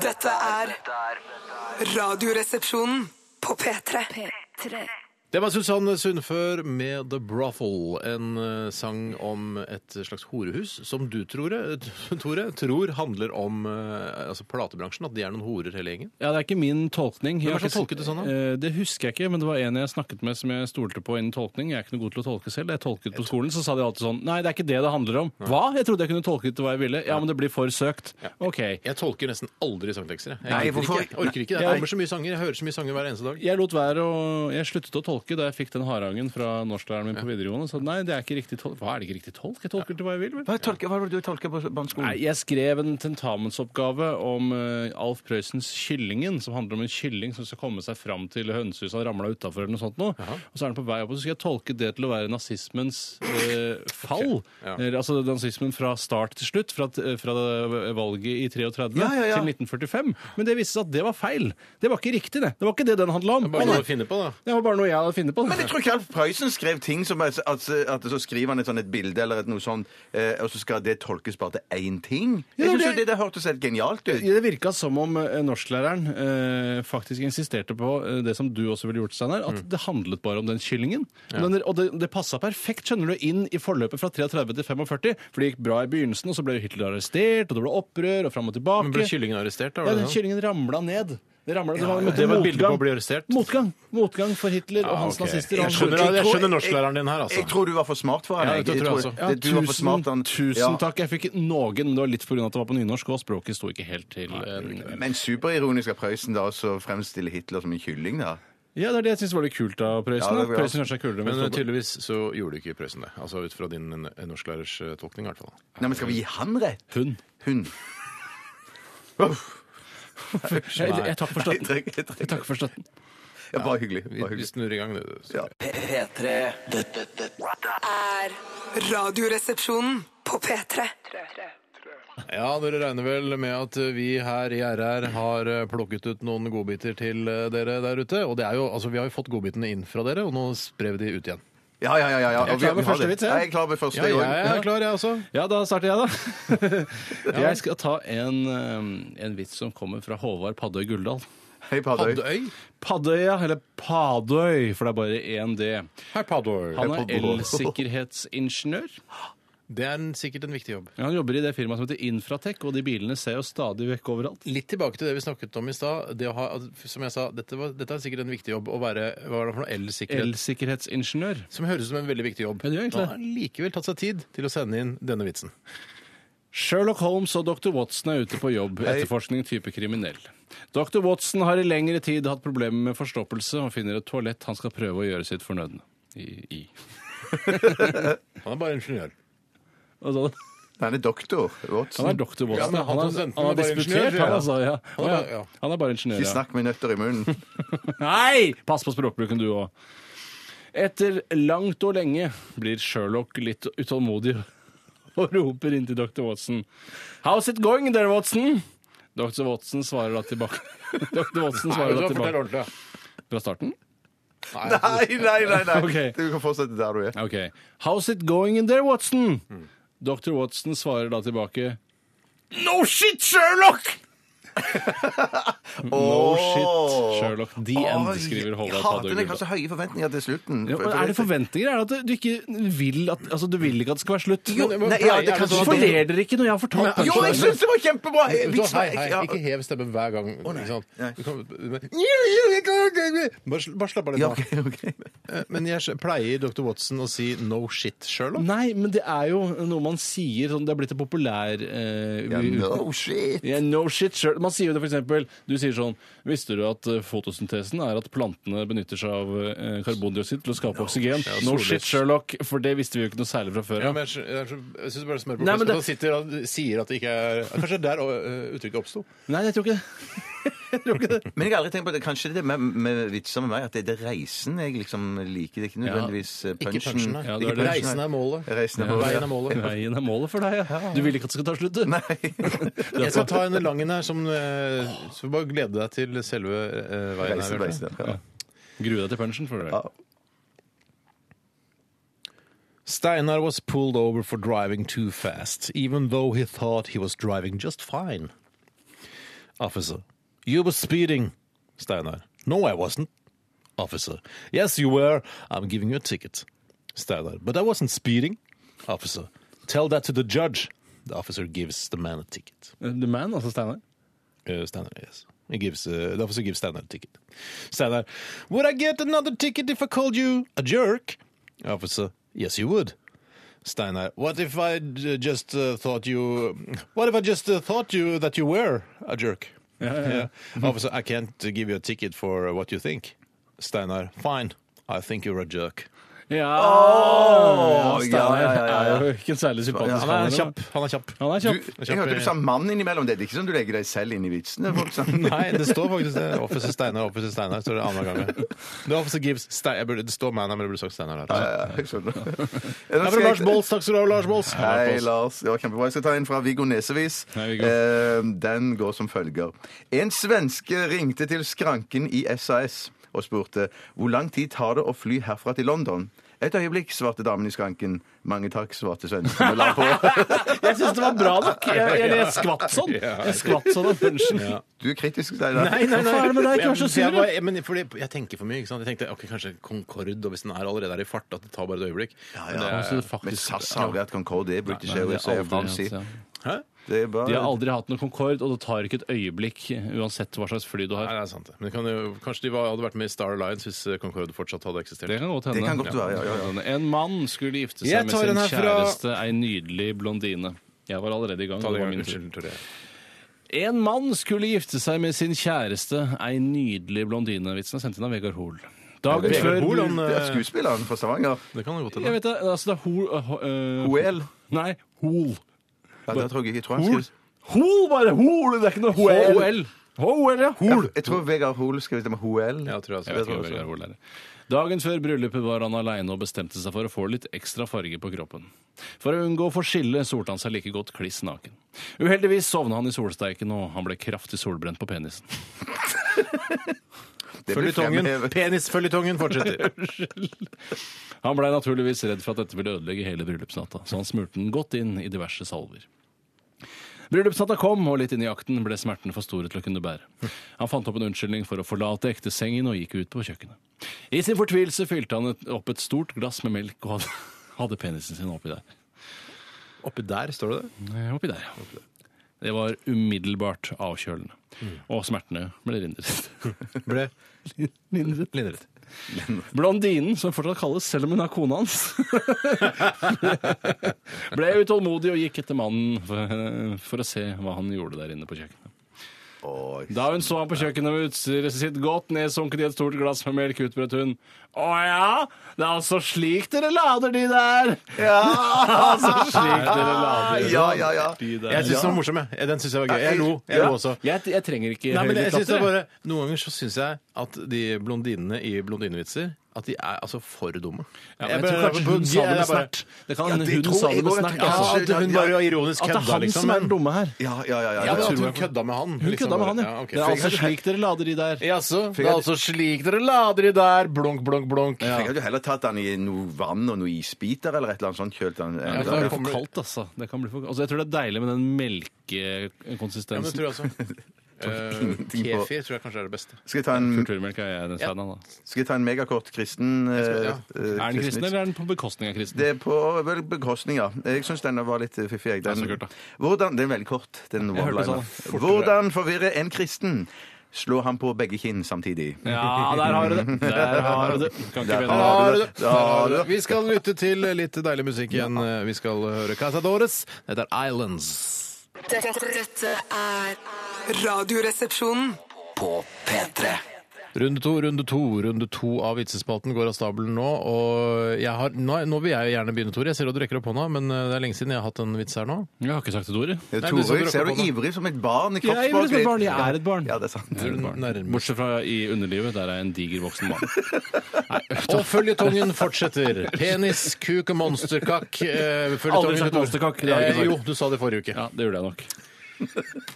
S6: Dette er Radioresepsjonen på P3.
S3: Det var Susanne Sundfør med The Brothel, en eh, sang om et slags horehus som du, Tore, Tore tror handler om eh, altså platebransjen, at de er noen horer hele gjengen.
S5: Ja, det er ikke min tolkning. Jeg
S3: Hvem
S5: har
S3: er det som
S5: ikke-
S3: tolket det sånn, da?
S5: Eh, Det husker jeg ikke, men det var en jeg snakket med som jeg stolte på innen tolkning. Jeg er ikke noe god til å tolke selv. Jeg tolket på skolen, så sa de alltid sånn Nei, det er ikke det det handler om. Hva? Jeg trodde jeg kunne tolke det til hva jeg ville. Ja, men det blir for søkt. OK.
S3: Jeg tolker nesten aldri sangtekster. Jeg, jeg,
S4: Nei,
S3: gidder
S4: hvorfor?
S3: ikke. jeg orker ikke. Det
S5: Nei.
S3: kommer så mye sanger. Jeg hører så mye sanger hver eneste dag.
S5: Jeg lot være å Jeg sluttet å tolke da jeg fikk den hardhagen fra norsklæreren min på videregående. Så nei, det er ikke riktig tolk. Hva er det ikke riktig tolk? Jeg tolker til hva jeg vil. vel?
S4: Hva, tolker, hva var det du tolka på barneskolen?
S5: Nei, jeg skrev en tentamensoppgave om eh, Alf Prøysens 'Kyllingen', som handler om en kylling som skal komme seg fram til hønsehuset han ramla utafor eller noe sånt noe. Og så er han på vei opp, og så skal jeg tolke det til å være nazismens eh, fall.
S3: ja.
S5: Eller, altså nazismen fra start til slutt, fra, t- fra valget i 33
S4: Ja, ja, ja.
S5: til 1945. Men det viste seg at det var feil. Det var ikke riktig, det. Det var ikke det den handla om.
S3: Bare
S5: Å,
S3: noe
S5: nei.
S3: å finne på, da.
S5: Det var bare noe jeg hadde funnet på.
S4: Men jeg tror ikke Alf Prøysen skrev ting som at, at, at så skriver han et, sånn, et bilde eller et, noe sånt, eh, og så skal det tolkes bare til én ting. Jeg
S5: Ja, det-
S4: synes jo det, det hørtes helt genialt ut.
S5: Det virka som om eh, norsklæreren eh, faktisk insisterte på eh, det som du også ville gjort, Steinar, at
S3: Mm.
S5: det handlet bare om den kyllingen. Men Den, og det, det passa perfekt, skjønner du, inn i forløpet fra 33 til 45. For det gikk bra i begynnelsen, og så ble Hitler arrestert, og det ble opprør, og fram og tilbake.
S3: Men ble kyllingen arrestert, da?
S5: ja,
S3: Var det
S5: den
S3: sånn?
S5: kyllingen ramla ned. Det, ramla, det, var,
S3: ja, det var et bilde på
S5: motgang.
S3: å bli arrestert.
S5: Motgang Motgang for Hitler og
S3: Ja,
S5: hans
S3: ok.
S5: nazister. og
S3: Jeg
S5: hans-
S3: skjønner, jeg
S4: tror-
S3: skjønner norsklæreren din her,
S4: Jeg
S3: altså.
S4: tror du var for smart for han.
S3: Ja, det tror jeg også.
S5: Ja,
S4: det- du var for smart, han.
S5: tusen
S4: Ja.
S5: takk. Jeg fikk noen, men det var litt pga. at det var på nynorsk, og språket sto ikke helt til eh,
S4: Men superironisk av Prøysen da også å fremstille Hitler som en kylling, da.
S5: Ja, det er det jeg syns var litt kult av
S4: Ja,
S5: Prøysen.
S4: det
S5: da.
S4: er bra.
S5: Prøysen gjør seg
S3: Men
S5: kulere med
S3: eh,
S5: Stoltenberg.
S3: tydeligvis så gjorde ikke Prøysen det. Altså ut fra din eh, norsklærers eh, tolkning, i hvert fall.
S4: Nei, men skal vi gi han rett?
S5: Hun.
S4: Hun. Uff.
S5: Jeg, jeg, takk for
S4: Nei,
S5: støtten.
S4: jeg trenger- jeg
S5: Jeg
S4: trenger-
S5: takker for støtten.
S4: Ja, Bare hyggelig.
S3: Vi,
S4: Bare
S3: vi
S4: hyggelig.
S3: snur i gang, det. Så.
S4: Ja.
S2: P3. Dette, dette
S6: Er Radioresepsjonen på P3.
S3: Ja, dere regner vel med at eh, vi her i RR har eh, plukket ut noen godbiter til eh, dere der ute. Og det er jo, altså, vi har jo fått godbitene inn fra dere, og nå sprer vi de ut igjen.
S4: Ja, ja, ja. ja, ja. Og vi-
S5: klar med
S4: vi har
S5: første
S4: det.
S5: vits, jeg.
S4: Ja, Jeg er klar med første.
S3: Ja,
S4: jeg
S3: jeg
S4: også.
S3: er klar, jeg også.
S5: Ja, da starter jeg, da. Jeg skal ta en, eh, en vits som kommer fra Håvard Paddøy Gulldal.
S4: Hei, Padøy.
S3: Paddøy?
S5: Paddøya, eller Padøy, for det er bare én D.
S3: Hei, Paddøy.
S5: Han er
S4: Paddøy.
S5: elsikkerhetsingeniør.
S3: Det er en, sikkert en viktig jobb.
S5: Han jobber i det firmaet som heter Infratek, og de bilene ser jo stadig vekk overalt.
S3: Litt tilbake til det vi snakket om i stad. det å ha- Som jeg sa, dette, var, dette er sikkert en viktig jobb å være hva er det for noe, elsikkerhet.
S5: Elsikkerhetsingeniør.
S3: Som høres ut som en veldig viktig jobb.
S5: Ja, det gjør egentlig
S3: Han har likevel tatt seg tid til å sende inn denne vitsen.
S5: Sherlock Holmes og dr. Watson er ute på jobb. Etterforskning type kriminell. Dr. Watson har i lengre tid hatt problemer med forstoppelse og finner et toalett han skal prøve å gjøre sitt fornødne i. i.
S3: Han er bare ingeniør.
S5: Altså,
S4: Han er doktor Watson.
S5: han er dr.
S3: Ja,
S5: Watson.
S3: men
S5: han,
S3: han
S5: er,
S3: som sendte den
S5: han er
S3: er bare
S5: disputert,
S3: ingeniør,
S5: han
S3: ja.
S5: altså. Ja.
S3: Han er
S5: Å,
S3: bare-
S5: ja.
S3: ja.
S5: Han er bare ingeniør.
S4: Ikke
S5: Ja.
S4: snakk med nøtter i munnen.
S5: Nei! Pass på språkbruken, du òg. Etter langt og lenge blir Sherlock litt utålmodig og roper inn til dr. Watson. How's it going there, Watson? Dr. Watson svarer da tilbake. Dr. Watson svarer da tilbake.
S3: ordentlig.
S5: Fra starten?
S4: Nei, nei, nei! nei.
S5: Ok.
S4: Du kan fortsette der du er.
S5: Ok. How's it going in there, Watson? Dr. Watson svarer da tilbake No shit, Sherlock! no shit, Sherlock the End, skriver Håvard Padø
S4: Padø. Jeg har
S5: Gullberg.
S4: så høye forventninger til slutten.
S5: Ja, men er det forventninger? Er det at du ikke vil at, altså, du vil ikke at det skal være slutt?
S4: Jo, nei, ja, det kan
S5: Hvorfor ler dere ikke når jeg har fortalt
S4: Jo, jeg syns det var kjempebra! Jeg-
S3: Vet du hva,
S4: Liksom,
S3: hei, hei,
S4: ja.
S3: ikke hev stemmen hver gang.
S4: nei.
S3: ikke sant?
S4: Nei.
S3: Du kan- men- Bare sl- bare slapp av litt
S4: Ja,
S3: nå.
S4: ok, ok.
S3: Eh, Men jeg s- pleier Dr. Watson å si 'no shit', Sherlock.
S5: Nei, men det er jo noe man sier sånn, Det er blitt et populær eh,
S4: Ja, no shit!
S5: Yeah, no shit, sure. Man sier jo det for eksempel Du sier sånn Visste du at eh, fotosyntesen er at plantene benytter seg av eh, karbondioksid til å skape oksygen? No
S3: sollys.
S5: shit, Sherlock, for det visste vi jo ikke noe særlig fra før.
S3: Ja, men jeg skj- jeg skj- jeg syns bare det smører på
S5: Nei,
S3: flesk
S5: men
S3: at
S5: det-
S3: han sitter og sier at det ikke er Kanskje det er der øh, uttrykket oppsto?
S5: Nei, jeg tror ikke det.
S4: Men jeg har aldri tenkt på det. Kanskje det er med, med vitser med meg at det er det reisen jeg liksom liker. Det er ikke nødvendigvis eh, punchen.
S3: punchen, nei.
S4: Ikke
S5: Ja, det er det.
S4: punchen,
S3: Reisen
S4: nei.
S3: er målet.
S4: Reisen er
S3: Veien er
S4: målet.
S3: målet.
S5: Veien er målet for deg, ja. Du vil ikke at det skal ta slutt, du?
S4: Nei.
S3: Jeg skal ta en lang en her som eh, Så bare glede deg til selve eh, veien her.
S4: Reisen,
S3: Bjarte.
S4: reisen, ja.
S5: Grue deg til punchen, for
S4: Ja.
S5: deg.
S3: Steinar was pulled over for driving too fast, even though he thought he was driving just fine. Officer, you were speeding. Steinar, no, I wasn't. Officer, yes, you were. I'm giving you a ticket. Steinar, but I wasn't speeding. Officer, tell that to the judge. The officer gives the man a ticket.
S5: The man, altså Steinar.
S3: Uh, Steinar, yes. He gives, uh, the officer gives Steinar a ticket. Steinar, would I get another ticket if I called you a jerk? Officer, yes, you would. Steinar, what if I d- just uh, thought you? What if I just uh, thought you that you were a jerk? Yeah. Officer, I can't give you a ticket for what you think. Steinar, fine. I think you're a jerk.
S5: Ja,
S4: Å, ja, ja, ja, ja.
S5: er jo ikke en særlig sympatisk
S3: Han er
S5: mann,
S3: kjapp. Han er kjapp.
S5: da. Han er
S4: Du,
S5: kjapp.
S4: jeg hørte du sa mann innimellom. Det er ikke sånn du legger deg selv inn i vitsene. folk, sånn.
S3: Nei, det står faktisk det. Officer Steinar, Officer Steinar. står det andre gangen. The officer gives Stei- jeg burde- Det står man her, men det burde sagt Steinar der.
S4: Ja, ja, jeg skjønner.
S3: Her var Lars Bolls. Takk skal du ha, Lars Bolls.
S4: Hei, Lars. Det var kjempebra. Jeg skal ta en fra Viggo Nesevis.
S5: Hei, Viggo.
S4: Eh, Den går som følger. En svenske ringte til skranken i SAS og spurte hvor lang tid tar det å fly herfra til London. Et øyeblikk, svarte damen i skranken. Mange takk, svarte svensken og la på.
S5: Jeg syns det var bra nok. Jeg, jeg, jeg skvatt sånn. Jeg skvatt sånn av punchen.
S4: Du er kritisk, Steinar.
S3: Nei, nei, nei.
S5: Hva er det med deg? Ikke vær så
S3: Jeg-
S5: sur,
S3: Jeg, var- men fordi jeg tenker for mye. ikke sant? Jeg tenkte ok, kanskje Concorde, og hvis den er allerede er i fart, at det tar bare et øyeblikk. Men det er-
S5: Han synes det
S4: Men
S5: faktisk-
S4: SAS har aldri hatt Concorde, det er British
S5: Nei, det
S4: Airways
S5: har
S4: og
S5: aldri
S4: Fransi.
S5: hatt, ja.
S3: Hæ?
S4: Det er
S5: De har
S4: bare
S5: aldri hatt noe Concorde, og det tar ikke et øyeblikk uansett hva slags fly du
S3: Nei,
S5: har.
S3: det er sant. det. Men det kan jo, kanskje de var, hadde vært med i Star Alliance hvis eh, Concorde fortsatt hadde
S5: Det
S3: eksistert.
S5: kan godt hende.
S4: Det kan godt være, ja, ja,
S5: En mann skulle gifte
S3: Jeg
S5: seg med
S3: tar
S5: sin
S3: den her fra-
S5: kjæreste, ei nydelig blondine. Jeg var allerede i gang.
S3: Ta
S5: det
S3: det en
S5: var
S3: gang.
S5: min tur.
S3: Unnskyld, Tore.
S5: En mann skulle gifte seg med sin kjæreste, ei nydelig blondine. Vitsen er sendt inn av Vegard Hoel. Dagen
S3: Vegard
S5: før eh,
S3: Hoel,
S4: Det
S3: han,
S4: er skuespilleren fra Stavanger.
S3: Det kan det godt
S5: Jeg
S3: hende.
S5: vet det, altså det er Hoel øh, øh,
S4: OL.
S5: Nei, Hoel.
S4: Ja, det tror jeg, jeg tror han
S5: Hoel?
S4: skriver
S5: Hoel, bare! Hoel! Det er ikke noe
S4: Hoel.
S5: HOL. HOL, ja. Hoel.
S4: Jeg tror Vegard Hoel skrev det med Hoel.
S3: Ja, jeg tror jeg også.
S5: Jeg vet ikke hva Vegard Hoel er. Dagen før bryllupet var han aleine og bestemte seg for å få litt ekstra farge på kroppen. For å unngå å få skille solte han seg like godt kliss naken. Uheldigvis sovna han i solsteiken, og han ble kraftig solbrent på penisen.
S4: Det blir
S3: Føljetongen.
S4: fremhevet.
S3: Penisføljetongen fortsetter.
S5: Han blei naturligvis redd for at dette ville ødelegge hele bryllupsnatta, så han smurte den godt inn i diverse salver. Bryllupsnatta kom, og litt inn i akten ble smertene for store til å kunne bære. Han fant opp en unnskyldning for å forlate ektesengen og gikk ut på kjøkkenet. I sin fortvilelse fylte han et, opp et stort glass med melk og hadde, hadde penisen sin oppi der.
S3: Oppi der står det det.
S5: Eh, Oppi der, ja. Det var umiddelbart avkjølende. Og smertene ble lindret.
S3: Ble
S5: lindret.
S3: lindret.
S5: Blondinen, som fortsatt kalles selv om hun er kona hans, ble utålmodig og gikk etter mannen for, for å se hva han gjorde der inne på kjøkkenet.
S4: Oi.
S5: Da hun så ham på kjøkkenet med utstyret sitt godt nedsunket i et stort glass med melk, utbrøt hun Å ja, det er altså slik dere lader de der!
S4: Ja!
S5: Altså slik dere lader
S4: Ja, ja, ja.
S5: de
S3: Jeg
S5: der.
S3: syns den var morsom, jeg. Den syns jeg var gøy. Jeg lo, jeg
S4: Ja.
S3: lo også.
S5: Jeg, jeg trenger ikke
S3: Nei, men
S5: høyere
S3: jeg synes det er
S5: latter, jeg.
S3: bare, Noen ganger så syns jeg at de blondinene i blondinevitser at de er altså for dumme.
S5: Ja, men jeg tror kanskje hun sa det med snert. Det kan hende
S4: det
S5: hun
S4: tror
S5: sa
S4: jeg
S5: det med
S4: går en
S5: snert.
S4: tanke.
S5: altså.
S4: Ja,
S3: at hun bare var ironisk
S5: At det
S3: kødda,
S5: er han
S3: liksom.
S5: som er
S3: men-
S5: den dumme her.
S4: Ja, ja, ja.
S3: Ja,
S4: ja,
S3: men
S5: tror
S3: at hun
S5: jeg-
S3: kødda med han. liksom,
S5: Hun kødda med han, Liksom ja.
S3: ja. ok.
S5: Det er altså slik dere lader de der.
S3: Jaså? Det er altså slik dere lader i der. Blunk, blunk, blunk.
S4: Jeg hadde jo heller tatt den i noe vann og noe isbiter eller et eller annet sånt. Kjølt den. eh,
S3: da
S5: Det kan bli
S4: Ja,
S5: for
S3: kommer-
S5: kaldt, altså. Det kan bli for... altså. Jeg tror det er deilig med den
S3: Ja, men det
S5: melkekonsistensen.
S3: tror jeg også. Eh,
S4: ingenting på-
S3: Kefir tror jeg kanskje er det beste.
S4: Skal jeg ta en,
S5: Mm. Kulturmelk er jeg den fan av, da.
S4: skal jeg ta en megakort kristen?
S3: skal- ja.
S4: eh,
S5: Er den
S4: kristen
S5: kristen,
S4: vits?
S5: eller er den på bekostning av kristen?
S4: Det er på vel, bekostning, ja. Jeg syns denne var litt eh, fiffig. Jeg. Den,
S5: Ja, så kult, da.
S4: hvordan, den er veldig kort. Den
S5: Jeg hørte det
S4: one-liner.
S5: sånn. Fortere.
S4: Hvordan forvirre en kristen? Slå ham på begge kinn samtidig.
S5: Ja, der har du det! Der har du det. Kan ikke
S4: Der
S5: bedre.
S4: har du det.
S3: Der har du det. Vi skal lytte til litt deilig musikk igjen. Eh, Vi skal høre Casadores. Dette er Islands.
S6: Dette, dette er Radioresepsjonen.
S2: På P3
S3: Runde to, runde to, runde to av vitsespalten går av stabelen nå. Og jeg har, nå, nå vil jeg gjerne begynne, Tore. Jeg ser at du rekker opp hånda, men eh, det er lenge siden jeg har hatt en vits her nå.
S5: Jeg har ikke sagt et ord. jeg.
S4: Ja,
S3: Nei,
S4: Tore,
S3: du sa du
S4: jeg ser
S3: rakk
S4: du
S3: opp
S4: ivrig som et barn i
S5: Jeg er ivrig
S4: kroppsspråket
S5: som et barn.
S4: ditt.
S5: Jeg er et barn.
S4: Ja, det er sant.
S3: Du nærmer
S5: Bortsett fra i underlivet, der er jeg en diger voksen mann.
S3: Og føljetongen fortsetter. Penis, kuk og monsterkakk. Eh, føljetongen-
S5: Aldri sagt monsterkakk, det har jeg ikke
S3: Eh, jo,
S5: sagt.
S3: du sa det forrige uke.
S5: Ja, det gjorde jeg nok.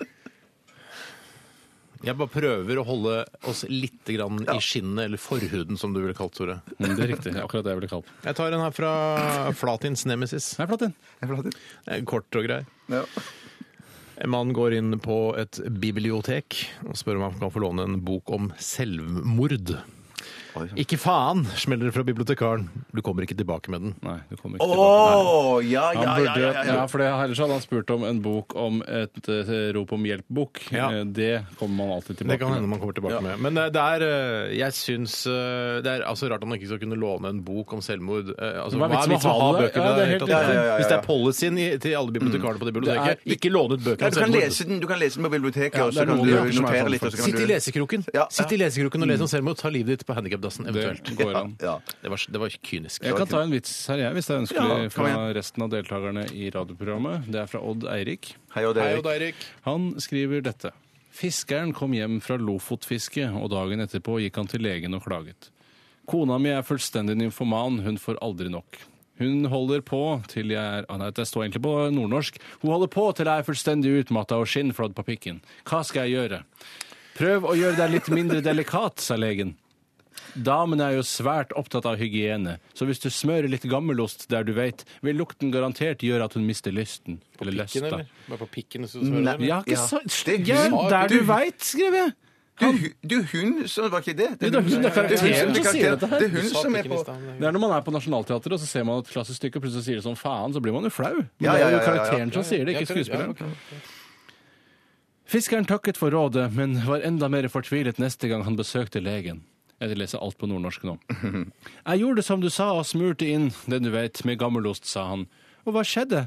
S3: Jeg bare prøver å holde oss litt grann i skinnet, eller forhuden, som du ville kalt Tore.
S5: Mm, Det er riktig. Akkurat det jeg ble kalt.
S3: Jeg tar en her fra Flatins Nemesis.
S5: Nei, Flatin.
S4: Jeg forlater.
S3: Det er Kort og grei.
S4: Ja.
S3: En mann går inn på et bibliotek og spør om han kan få låne en bok om selvmord.
S4: Oi, sånn.
S3: Ikke faen, smeller det fra bibliotekaren. Du kommer ikke tilbake med den.
S5: Nei, du kommer ikke
S4: Å,
S5: tilbake.
S4: ja,
S5: Han
S4: ja, ja,
S5: burde,
S4: ja,
S5: ja,
S4: ja.
S5: for det, Ellers hadde han spurt om en bok om et eh, rop om hjelp-bok.
S3: Ja.
S5: Eh, Det kommer man alltid
S3: Det
S5: tilbake
S3: kan hende
S5: med.
S3: man kommer tilbake med. Men eh, det er eh, Jeg syns eh, Det er altså rart at man ikke skal kunne låne en bok om selvmord. Eh, Altså, hva er vitsen med å ha
S5: det?
S3: bøkene?
S5: Ja, det er
S3: i
S5: helt
S3: tatt?
S4: riktig. Ja, ja, ja, ja.
S3: Hvis det er policyen i- til alle bibliotekarene på Mm. det biblioteket,
S5: Det er-
S3: ikke låne ut bøker
S4: Nei,
S3: om
S4: du, kan
S3: selvmord.
S4: lese den, du kan lese den på biblioteket,
S5: Ja,
S4: og så
S5: det er
S4: kan
S5: noen
S4: du
S5: bøker som er
S4: notere
S5: sånn,
S4: litt. Og så kan
S3: Sitt i
S4: du...
S3: lesekroken
S4: Ja,
S3: Sitt i
S4: ja.
S3: lesekroken og les om selvmord. Ta livet ditt på handikapdassen eventuelt.
S5: Det går an.
S4: Ja.
S3: Det var, det var kynisk.
S5: Jeg kan ta en vits her, jeg, hvis det er ønskelig
S4: Ja, kom
S5: fra
S4: igjen.
S5: resten av deltakerne i radioprogrammet. Det er fra Odd Eirik.
S4: Hei og
S3: Hei, Odd
S4: deg.
S3: Eirik.
S5: Han skriver dette. Fiskeren kom hjem fra Lofotfiske, og dagen etterpå gikk han til legen og klaget. Kona mi er fullstendig nymfoman, hun får aldri nok. Hun holder på til jeg er ah, Nei, det står egentlig på nordnorsk. Hun holder på til jeg er fullstendig utmatta og skinnflådd på pikken. Hva skal jeg gjøre? Prøv å gjøre deg litt mindre delikat, sa legen. Damene er jo svært opptatt av hygiene, så hvis du smører litt gammelost der du veit, vil lukten garantert gjøre at hun mister lysten.
S3: På
S5: Eller
S3: pikken,
S5: lysta.
S3: eller? Bare på pikken? hvis du
S4: Nei.
S3: smører det, eller?
S5: Jeg har ikke
S4: Ja.
S5: sagt
S4: Det er
S5: Igjen,
S4: hun.
S5: der du
S3: Du-
S5: veit, skrev jeg!
S4: Du, hu- du hun, så var ikke det?
S5: Jo, det er hun, det er
S4: hun
S5: karakteren
S4: som-
S5: som sier dette her.
S4: Det er
S3: Du
S4: hun
S3: sa
S4: som er
S3: pikken i
S4: på
S3: stad, men det
S5: Det er når man er på Nationaltheatret og så ser man et klassisk stykke, og plutselig sier det sånn faen, så blir man jo flau. Men
S4: Ja, ja,
S5: det
S4: ja,
S5: er jo
S4: ja, ja.
S5: karakteren som sier det,
S3: Ja,
S5: ikke
S3: ok, ja,
S5: skuespilleren. Fiskeren takket for rådet, men var enda mer fortvilet neste gang han besøkte legen. Jeg leser alt på nordnorsk nå. Jeg gjorde som du sa og smurte inn den du vet, med gammelost, sa han. Og hva skjedde?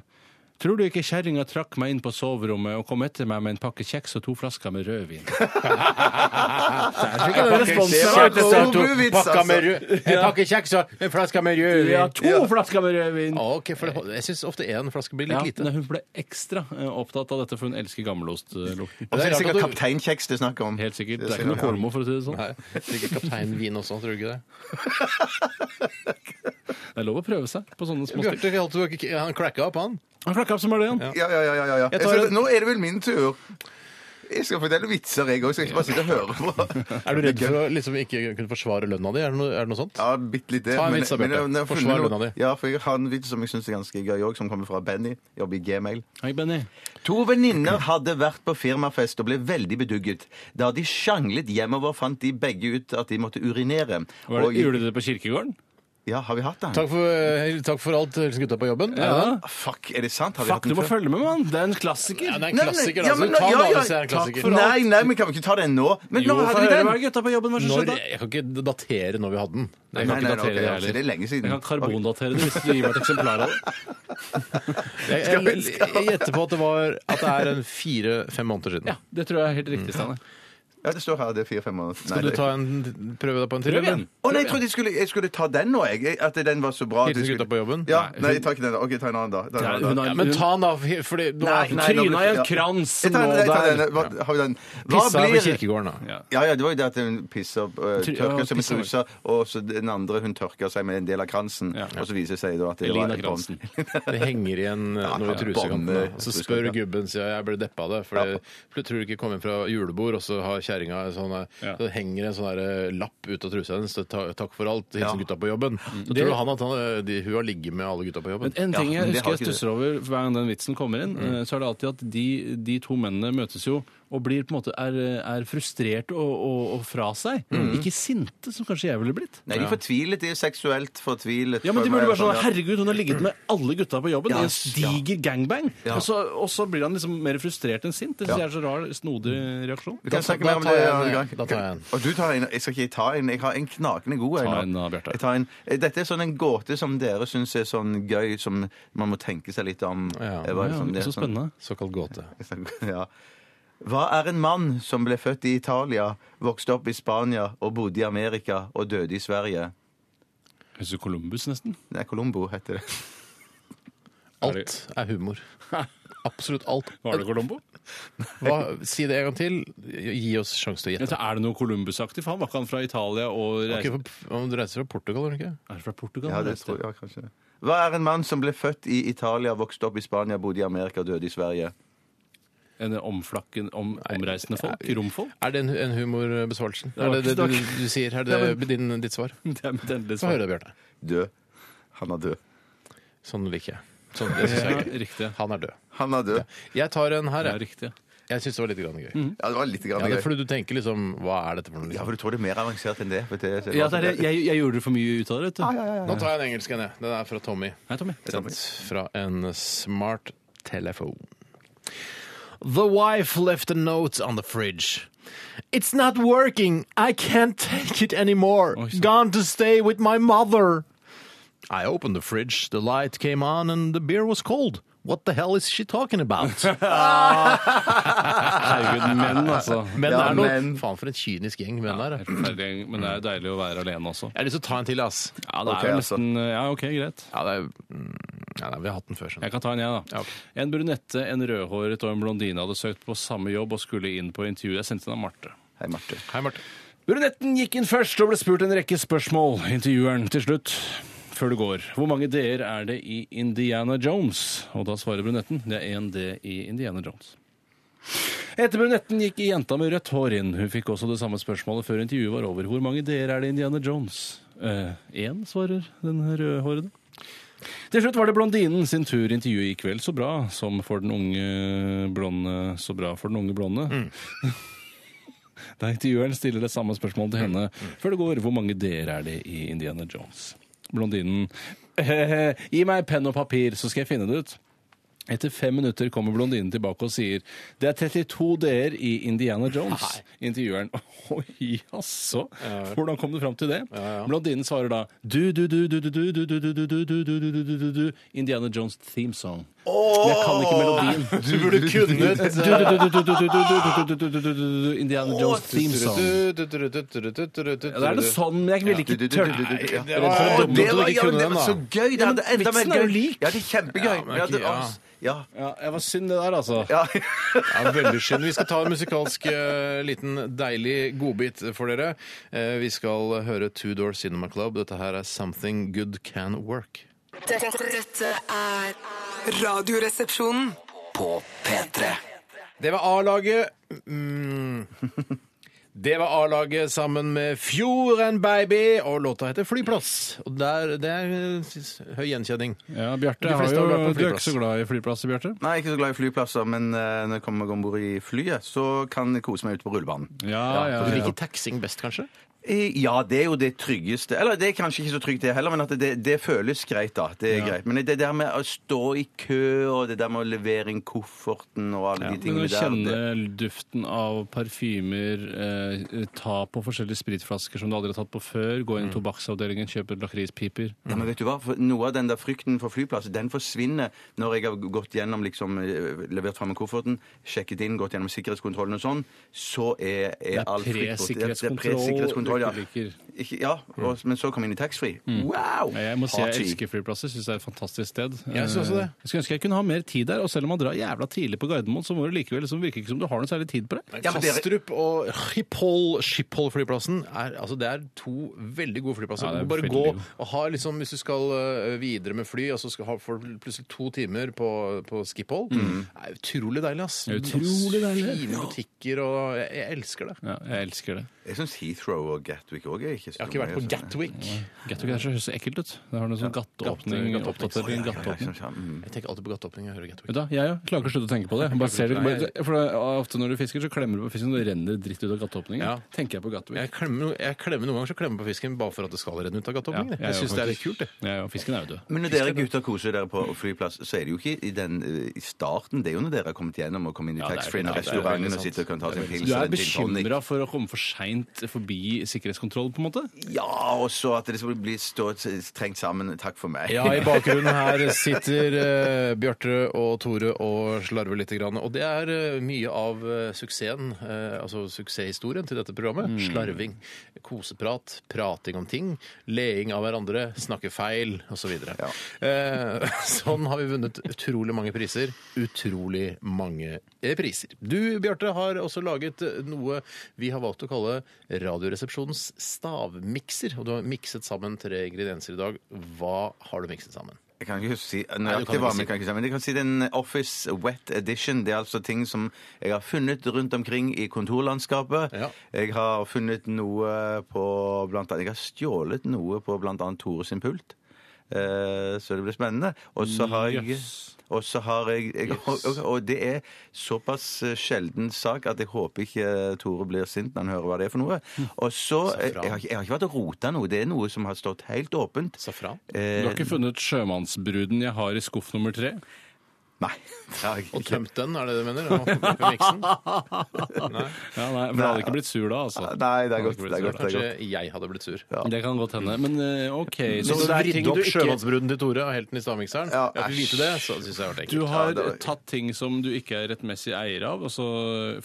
S5: Tror du ikke kjerringa trakk meg inn på soverommet og kom etter meg med en pakke kjeks og to flasker med rødvin? Der fikk jeg den responsen.
S4: Det var overbevits,
S3: Pakka med rød-
S4: altså.
S3: En pakke kjeks og en flaske med rødvin.
S5: Ja, to flasker med rødvin!
S3: Ah, ok, for det, jeg syns ofte én flaske blir litt
S5: Ja,
S3: lite.
S5: men hun ble ekstra eh, opptatt av dette, for hun elsker gammelostlukten.
S4: Og så er det
S3: Det er
S4: sikkert
S3: rart at du-
S4: kapteinkjeks det er snakk om.
S5: Helt sikkert. Det
S4: Det
S5: er ikke noe
S4: sikkert, ja.
S5: kormo, for å si det sånn.
S3: Nei, Drikker kapteinvin også, tror du ikke det?
S5: Det er lov å prøve seg på sånne små stykker.
S3: Bjarte, vi holdt jo ikke- han cracka opp, han.
S5: Han klakka opp som bare det, han.
S4: Ja, ja, ja. ja, ja.
S3: Jeg
S4: Jeg
S3: tar
S4: skal,
S3: en-
S4: nå er det vel min tur. Jeg skal fortelle vitser, jeg òg. Skal ikke bare sitte og høre på.
S3: Er du redd for å liksom ikke kunne forsvare lønna di? Er det noe, er det noe sånt?
S4: Ja, bitte litt det.
S3: Ta en vits da, Bjarte.
S4: jeg- når jeg har
S3: Forsvar
S4: funnet
S3: lønna di.
S4: noe- Ja, for jeg har en vits som jeg syns er ganske gøy òg, som kommer fra Benny. Jobber i Gmail.
S5: Hei, Benny.
S4: To venninner hadde vært på firmafest og ble veldig bedugget. Da de sjanglet hjemover, fant de begge ut at de måtte urinere.
S5: Var det, gjorde du det på kirkegården?
S4: Ja, har vi hatt den? Ah,
S3: Takk for, eh, takk for alt, hilsen gutta på jobben. Er det det?
S4: Fuck, er det sant? Har vi
S5: Fuck,
S4: hatt
S5: du
S4: den
S5: må
S4: før?
S5: følge med, mann! Det er en klassiker.
S3: Ja, det er en
S4: Nei, nei,
S3: klassiker.
S4: ja,
S3: altså.
S4: men-
S3: Ta
S4: ja,
S3: den
S4: ja,
S3: av hvis det er en
S4: takk
S3: klassiker.
S5: for alt.
S4: Nei, nei, men kan vi ikke ta den nå? Men
S5: Jo,
S4: nå
S5: få
S4: hadde vi
S5: høre hva
S4: den!
S5: er gutta på jobben, hva som
S3: Når,
S5: skjedde?
S3: jeg kan ikke datere når vi hadde den.
S4: Nei,
S5: Jeg kan
S4: nei,
S5: ikke
S4: nei, ok,
S5: datere det
S4: ok, det er
S5: heller.
S4: lenge siden.
S5: Jeg kan karbondatere det hvis du gir meg et eksemplar av det.
S3: Jeg, jeg, jeg gjetter på at det, var, at det er en fire-fem måneder siden.
S5: Ja, Det tror jeg er helt riktig, Steinar.
S4: Ja, det står her, det er fire-fem måneder. Nei,
S3: Skal du
S4: det-
S3: ta en, prøve deg på en til?
S5: Prøv
S3: eller?
S5: igjen.
S4: Å nei, jeg trodde jeg skulle, jeg skulle ta den nå, jeg. At den var så bra. at jeg
S3: Hilsen gutta
S4: skulle-
S3: på jobben?
S4: Ja, nei, jeg tar ikke den. da. Ok, ta en annen, da. Ta en annen, da.
S5: Hun har
S3: Ja,
S5: en
S3: men ta den av, fordi nå
S4: Nei,
S3: er
S4: nei, nå
S5: tryna
S4: blir-
S5: i en
S4: ja.
S5: krans
S4: Jeg tar
S5: nå
S4: den, jeg tar den.
S5: der.
S4: Hva, har vi den? Hva
S3: Pissa over
S4: blir
S3: kirkegården, da.
S5: Ja.
S4: Ja, ja, det var jo det at hun pisser, øh,
S5: Try-
S4: tørker
S5: ja,
S4: seg med
S5: pisser.
S4: trusa, og så den andre hun tørker seg med en del av kransen,
S5: Ja.
S4: og så viser det seg da at det var
S5: Elina
S4: et bånd.
S5: Kransen.
S3: Det henger igjen eh, noe i
S4: ja,
S3: trusekanten.
S4: bånd,
S3: da.
S4: eh,
S3: Og Så
S4: trusekanten,
S3: spør
S4: ja.
S3: gubben sier jeg ble deppa av det. For jeg for jeg tror ikke jeg kom inn fra julebord, og så har kjerringa en sånn eh,
S5: Ja.
S3: Så henger en sånn der, eh, lapp ut av trusa hennes. det ta- Takk for alt.
S4: Ja.
S3: Hilsen gutta på jobben. Så tror han at han, eh, de, hun har ligget med alle gutta på jobben.
S5: Mm. Men en ting
S4: Ja,
S5: jeg
S4: men det
S5: husker
S4: har
S5: jeg
S4: ikke Mm. du.
S5: stusser over hver gang den vitsen kommer inn, eh, så er det alltid at de, de to mennene møtes jo og blir på en måte er, er frustrerte og, og, og fra seg.
S4: Mm.
S5: Ikke sinte, som kanskje jeg ville blitt.
S4: Nei, de er fortvilet. De er seksuelt fortvilet.
S5: Ja, men de
S4: føler jeg,
S5: burde være sånn
S4: ja.
S5: Herregud, hun har ligget med alle gutta på jobben
S4: Ja,
S5: i en diger gangbang. Og, så, og så blir han liksom mer frustrert enn sint. Det synes
S4: Ja.
S5: jeg er så rar, snodig reaksjon.
S4: Vi kan snakke
S3: da
S4: mer om
S3: tar
S4: det
S3: jeg en,
S4: en annen gang.
S3: da tar jeg en.
S4: Og du tar en. Jeg skal ikke ta en. Jeg har en knakende god
S5: Ta
S4: en.
S5: en
S4: nå.
S5: da, Bjarte.
S4: Jeg tar en. Eh, Dette er sånn en gåte som dere syns er sånn gøy, som man må tenke seg litt om.
S3: Ja.
S4: Eh, hva er det
S5: Ja,
S4: som det er
S5: så
S4: sånn-
S5: spennende.
S3: Såkalt gåte.
S4: Ja. Hva er en mann som ble født i Italia, vokste opp i Spania og bodde i Amerika og døde i Sverige?
S5: Høres ut Columbus, nesten.
S4: Nei, Colombo heter det.
S3: Alt er humor. Absolutt alt.
S5: Var det Colombo?
S3: Hva, si det en gang til. Gi oss sjanse til å
S5: Ja,
S3: gjette.
S5: så er det noe Columbus-aktig? For han var ikke han fra Italia og
S3: Ok,
S5: reiste
S3: for- om du reiser fra Portugal, gjør du ikke?
S5: Er det fra Portugal?
S4: Ja,
S5: han
S4: det
S5: reiste?
S4: tror jeg kanskje. det. Hva er en mann som ble født i Italia, vokste opp i Spania, bodde i Amerika og døde i Sverige?
S5: En omflakken, om, omreisende folk? Romfolk?
S3: Er det en, en humorbesvarelse?
S5: var
S3: Er det det
S5: ikke
S3: du, du sier? Er det det, din, ditt svar?
S5: Det er mitt endelige
S3: Få
S5: svar.
S3: høre det, Bjarte.
S4: Død. Han er død.
S3: Sånn liker jeg. Sånn, det synes jeg
S5: Ja,
S3: er gøy.
S5: riktig.
S3: Han er død.
S4: Han er død.
S3: Jeg tar en her,
S5: Det er
S3: jeg.
S5: riktig.
S3: Jeg syns det var litt grann gøy.
S4: Ja, det var litt grann
S3: Ja, det
S4: gøy.
S3: er fordi du tenker liksom Hva er dette for noe?
S4: Mm. Ja,
S3: Liksom?
S4: for du tror det er mer avansert enn det? vet du.
S5: Ja, det er, jeg, jeg gjorde det for mye ut av det, vet du.
S3: Nå tar jeg en engelsk en, jeg. Den er fra Tommy.
S5: Hei, Tommy.
S3: Sendt fra en smart telefon. The wife left a note on the fridge. It's not working. I can't take it anymore.
S5: Oi, sant.
S3: Gone to stay with my mother. I opened the fridge. The light came on and the beer was cold. What the hell is she talking about?
S5: Herregud, menn, altså.
S3: Men
S4: Ja,
S3: er noe
S4: men-
S3: Faen, for en kynisk gjeng menn er.
S5: Helt forferdelig, Men det er deilig å være alene også.
S3: Jeg har lyst til å ta en til, ass.
S5: Ja, det
S4: Ok,
S5: er jo
S4: altså.
S5: nesten Ja, OK, greit.
S3: Ja, det er, mm, ja, nei, vi har hatt den før. skjønner
S5: Jeg kan ta en, jeg, da.
S3: Ja, ok.
S5: En brunette, en rødhåret og en blondine hadde søkt på samme jobb og skulle inn på intervju. Jeg sendte den av Marte.
S4: Hei, Marte.
S3: du. Hei, Marte.
S5: Brunetten gikk inn først og ble spurt en rekke spørsmål. Intervjueren til slutt. Før du går, hvor mange d-er er det i Indiana Jones? Og da svarer brunetten, det er én d i Indiana Jones. Etter brunetten gikk jenta med rødt hår inn. Hun fikk også det samme spørsmålet før intervjuet var over. Hvor mange d-er er det i Indiana Jones? Én, svarer den rødhårede. Til slutt var det blondinen sin tur. Intervjuet gikk vel så bra som for den unge blonde. Så bra for den unge blonde. Da intervjueren stiller det samme spørsmålet til henne før det går, hvor mange dere er det i Indiana Jones? Blondinen Gi meg penn og papir, så skal jeg finne det ut. Etter fem minutter kommer blondinen tilbake og sier det er 32 dere i Indiana Jones. Intervjueren Oi, altså! Hvordan kom du fram til det? Blondinen svarer da du, du, du, du, du, du, du, du, du, du, du, du, du, du, du, du, Indiana Jones theme song. Men jeg kan ikke melodien.
S3: Du burde kunnet
S5: Indiana Jones theme song. Ja, da er det sånn, men jeg ville ikke tørre
S4: Ja.
S3: det var-
S4: Å,
S3: dumt at du
S4: var-
S3: ikke
S4: ja, men
S3: kunne
S4: det
S3: den,
S4: var
S3: da.
S4: så gøy! Det
S5: Ja, men
S4: hadde enda mer
S5: vitsen er jo
S4: gøy.
S5: lik.
S4: Ja, det er kjempegøy.
S3: Ja, men
S4: men jeg
S3: ikke-
S4: hadde-
S3: ja.
S4: Ja.
S5: Ja, jeg var synd det der, altså.
S4: Ja.
S3: Ja, veldig synd. Vi skal ta en musikalsk eh, liten deilig godbit for dere. Eh, vi skal høre Two Door Cinema Club. Dette her er Something Good Can Work.
S6: Dette, dette er Radioresepsjonen.
S2: På P3
S3: Det var A-laget. Mm. Det var A-laget sammen med Fjorden Baby, og låta heter Flyplass. Og der, det er eh, høy gjenkjenning.
S5: Ja, Bjarte,
S3: De
S5: har
S3: fleste
S5: jo,
S3: har vært på
S5: du er ikke
S3: flyplass.
S5: så glad i flyplasser, Bjarte?
S4: Nei, jeg er ikke så glad i flyplasser, men eh, når jeg kommer meg om bord i flyet, så kan jeg kose meg ute på rullebanen.
S5: Ja, ja,
S3: Du
S5: ja.
S3: liker taxing best, kanskje?
S4: Eh, Ja, det er jo det tryggeste. Eller det er kanskje ikke så trygt det heller, men at det, det føles greit, da. Det er greit. Men det der med å stå i kø, og det der med å levere inn kofferten og alle de
S5: Men
S4: tingene
S5: å
S4: der
S5: kjenne
S4: det-
S5: duften av parfymer, eh, ta på forskjellige spritflasker som du aldri har tatt på før, gå inn i tobakksavdelingen, kjøpe lakrispiper.
S4: Ja, men vet du hva? For Noe av den der frykten for flyplasser, den forsvinner når jeg har gått gjennom, liksom, eh, levert fram kofferten, sjekket inn, gått gjennom sikkerhetskontrollen og sånn, så er,
S5: Det
S4: er
S5: er
S4: all frykt borte.
S5: pre-sikkerhetskontroll
S4: ja.
S5: du ikke liker.
S4: Ikke, ja og, men så kom jeg inn i taxfree. Wow!
S5: Mm. Ja, Jeg må si jeg
S4: Party.
S5: elsker flyplasser. Syns det er et fantastisk sted.
S3: Jeg synes også det.
S5: Eh, Jeg skulle ønske jeg kunne ha mer tid der, og selv om man drar jævla tidlig på Gardermoen, så må det likevel liksom virke ikke som du har noe særlig tid på det.
S4: Ja, men dere-
S3: Kastrup og Schiphol, Schiphol-flyplassen er, altså det er to veldig gode flyplasser.
S5: Ja, det er
S3: du bare
S5: veldig
S3: gå
S5: gode.
S3: og ha liksom, Hvis du skal ø, videre med fly, og så skal ha for plutselig to timer på, på Schiphol Det er utrolig deilig, ass.
S5: Det er Mm. utrolig deilig.
S3: Fine butikker og jeg, jeg elsker det.
S5: Ja, jeg elsker det.
S4: Jeg syns Heathrow òg Gatwick òg er ikke så
S3: Jeg har ikke vært på
S4: mye, altså.
S3: Gatwick.
S5: Gatwick er så høres så ekkelt ut. Det har noe sånn gatteåpning.
S3: Gatte-
S5: Gatteoppdatering. Gatteåpning.
S4: Ja, mm.
S3: Jeg tenker alltid på Gatteåpning. Jeg hører
S5: Vet
S3: Gatwick.
S5: du hva, Jeg òg klarer ikke å slutte å tenke på det. Bare ser det bare, for det, er Ofte når du fisker, så klemmer du på fisken, og det renner dritt ut av gatteåpningen.
S3: Ja.
S5: Tenker jeg på Gatwick.
S3: Jeg klemmer, no- jeg klemmer noen ganger så klemmer jeg på fisken bare for at det skal renne ut av Gatteåpningen. jeg
S5: gjør
S3: synes det er litt
S5: faktisk-
S3: kult, det.
S5: Ja, ja, fisken er jo død.
S4: Men når dere gutter koser dere på flyplass, så er det jo ikke i, den, eh, i starten. Det er jo når dere har kommet gjennom og kommet inn i
S5: Ja, det er-
S4: taxfree-en og
S5: ja, det er veldig
S4: restauranten og
S5: sant.
S4: sitter og kan ta sin pils
S5: Du
S4: og
S5: er
S4: en gin tonic.
S5: bekymra for å komme for seint forbi sikkerhetskontroll, på en måte?
S4: Ja, og så at det skal bli stå trengt sammen. Takk for meg.
S3: Ja, i bakgrunnen her sitter eh, Bjarte og Tore og slarver litt. Grann. Og det er eh, mye av eh, suksessen, eh, altså suksesshistorien til dette programmet. Slarving, koseprat, prating om ting, leing av hverandre, snakke feil osv.
S4: Ja.
S3: Eh, sånn har vi vunnet utrolig mange priser. Utrolig mange eh, priser. Du, Bjarte, har også laget eh, noe vi har valgt å kalle Radioresepsjonens stavmikser. Og du har mikset sammen tre ingredienser i dag. Hva har du mikset sammen?
S4: Jeg kan ikke
S3: Nei,
S4: si
S3: du kan
S4: nøyaktig
S3: ikke
S4: hva,
S3: si.
S4: men jeg kan ikke si, men jeg kan si den Office Wet Edition. Det er altså ting som jeg har funnet rundt omkring i kontorlandskapet.
S3: Ja.
S4: Jeg har funnet noe på blant annet, Jeg har stjålet noe på blant annet Tore sin pult. Eh, så det blir spennende. Og så har jeg Og så har jeg, jeg og, og- og det er såpass eh, sjelden sak at jeg håper ikke eh, Tore blir sint når han hører hva det er for noe.
S3: Hm.
S4: Og så eh, jeg, har ikke- jeg har ikke vært og rota noe. Det er noe som har stått helt åpent.
S3: Safran?
S5: Du
S4: Eh,
S5: har ikke funnet sjømannsbruden jeg har i skuff nummer tre?
S4: nei. det har jeg
S3: Og
S4: ikke.
S3: tømt den, er det det du mener? Og miksen? Nei,
S5: Ja, nei, For da hadde jeg ikke blitt sur da, altså.
S4: Nei, det er godt. Det er godt,
S5: Hadde ikke blitt
S4: det er
S3: Kanskje
S4: godt.
S3: jeg hadde blitt sur.
S5: sur. Det kan godt hende. Men eh, OK.
S3: Så
S5: Så
S3: du
S5: det er ting
S3: vridde
S5: du
S3: opp
S5: ikke
S3: sjømannsbruden til Tore og helten i stavmikseren?
S4: Ja,
S3: Jeg vil vite det, så synes jeg det har vært
S5: Du
S3: ekkelt.
S5: har
S4: Ja, det var-
S5: tatt ting som du ikke er rettmessig eier av, og så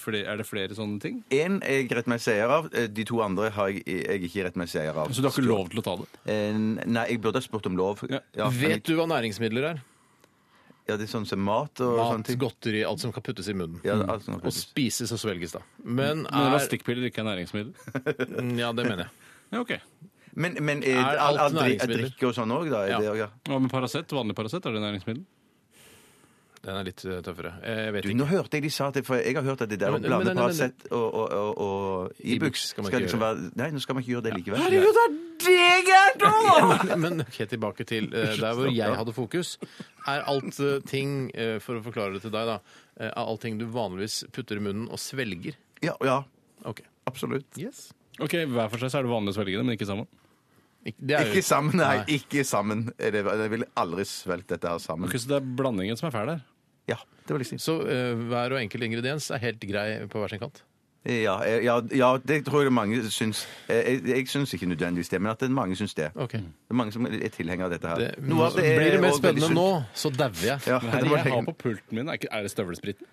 S5: fle- er det flere sånne ting?
S4: En er jeg rettmessig eier av. eh, De to andre har jeg, jeg er ikke rettmessig eier av.
S5: Så du har ikke lov til å ta det?
S4: Eh, Nei, jeg burde ha spurt om lov.
S5: Ja.
S4: men
S3: Vet
S4: jeg-
S3: du hva næringsmidler er?
S4: Ja, det er sånn som mat og sånne
S3: Mat,
S4: ting.
S3: godteri, alt som kan puttes i munnen.
S4: Ja, alt sånn som kan
S3: Og
S4: puttes.
S3: spises og svelges, da. Men
S5: Men
S3: er Mm,
S5: Elastikkpiller ikke er næringsmiddel?
S3: Ja, det mener jeg.
S5: Ja, OK.
S4: Men, men eh, er,
S3: Er
S4: er,
S3: alt
S4: er, er,
S3: næringsmidler?
S4: drikke og sånn òg, da? Er
S3: Ja.
S4: det, også, ja.
S5: Hva med Paracet? Vanlig Paracet, er det næringsmiddel?
S3: Den er litt eh, tøffere. Eh, Jeg vet
S4: Du,
S3: ikke.
S4: nå hørte jeg de sa det, for jeg har hørt at det der
S3: Ja,
S4: å
S3: men- men-
S4: blande
S3: men- men-
S4: Paracet og, og, og, og Ibux
S3: skal man
S4: skal
S3: ikke
S4: liksom
S3: gjøre.
S4: være Nei, nå skal man ikke gjøre det likevel.
S3: Men ok, tilbake til eh, der hvor jeg hadde fokus. Er alt eh, ting, eh, for å forklare det til deg, da, eh, er alt ting du vanligvis putter i munnen og svelger?
S4: Ja, ja,
S3: Ok.
S4: absolutt.
S3: Yes.
S5: Ok, Hver for seg så er det vanlig å svelge det, men ikke sammen.
S3: Ik- Det er jo-
S4: Ikke sammen, nei. Ikke sammen. Er det- Jeg ville aldri svelget dette her sammen.
S5: Ok, Så det er blandingen som er fæl her.
S4: Ja, det vil jeg si.
S3: Så eh, hver og enkelt ingrediens er helt grei på hver sin kant?
S4: Ja, eh, ja, ja, det tror jeg mange syns. Eh, Jeg, jeg syns ikke nødvendigvis det, men at det er mange syns det. Det
S3: Ok.
S4: er mange som er tilhengere av dette her.
S3: Det,
S4: Noe av er
S3: blir det mer
S4: også veldig
S3: spennende nå,
S4: sunt.
S3: så dauer jeg.
S4: Ja,
S5: Her
S4: det må jeg,
S5: jeg har
S4: tenke.
S5: på pulten min, er, ikke, er det støvlespriten?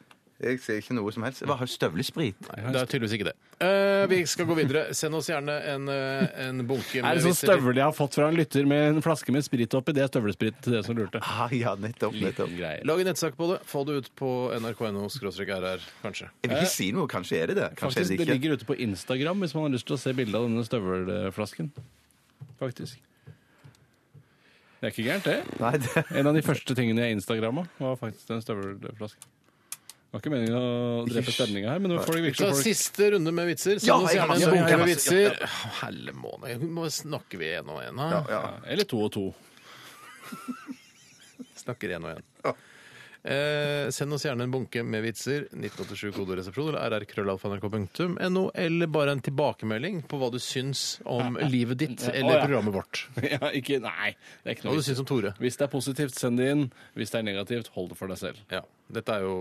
S4: jeg ser ikke noe som helst. Hva har støvlesprit?
S3: Nei, Det er tydeligvis ikke det. Eh, vi skal gå videre. Send oss gjerne en, eh, en bunke
S5: Er det sånn
S3: visiter.
S5: støvel jeg har fått fra en lytter med en flaske med sprit oppi? Det er støvlespriten til dere som lurte.
S4: Ah, ja, nettopp. nettopp.
S5: Liten greie.
S3: Lag en nettsak på det. Få det ut på nrk.no rr, kanskje.
S4: Jeg vil ikke si noe. Kanskje er det det. Kanskje
S5: Faktisk,
S4: er
S5: det
S4: det ikke.
S5: ligger ute på Instagram hvis man har lyst til å se bilde av denne støvelflasken. Faktisk. Det er ikke gærent, det.
S4: Nei, det,
S5: En av de første tingene jeg instagramma, var faktisk den støvelflasken. Det var ikke meningen å drepe stemninga her, men nå får det
S3: Så
S5: virkelig folk
S3: Siste runde med vitser. Send
S4: Ja,
S3: oss
S4: jeg har
S3: gjerne
S4: masse-
S3: en bunke
S4: jeg har
S3: med
S4: masse- ja,
S3: vitser. Helle måne, nå må snakker vi én og én.
S4: ja,
S3: Ja,
S4: ja.
S5: Eller to og to.
S3: Snakker en og en. Eh, send oss gjerne en bunke med vitser. 1987 koderesepsjon eller rrkrøllalfa.nrk.no. Eller bare en tilbakemelding på hva du syns om livet ditt
S5: Å,
S3: eller
S5: ja.
S3: programmet vårt.
S5: Ja, ikke Nei. Det er ikke
S3: Hva
S5: noe
S3: du syns om Tore.
S5: Hvis det er positivt, send det inn. Hvis det er negativt, hold det for deg selv.
S3: Ja, Dette er jo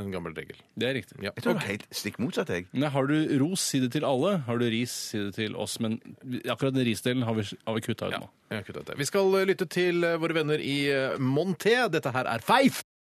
S3: en gammel regel.
S5: Det er riktig.
S3: Ja.
S4: Jeg tror det er helt stikk motsatt, jeg.
S5: Nei, har du ros, si det til alle. Har du ris, si det til oss. Men akkurat den risdelen har vi, har vi kutta ut nå.
S3: Jeg har kuttet ut det. Vi skal eh, lytte til eh, våre venner i eh, Monté. Dette her er Feif!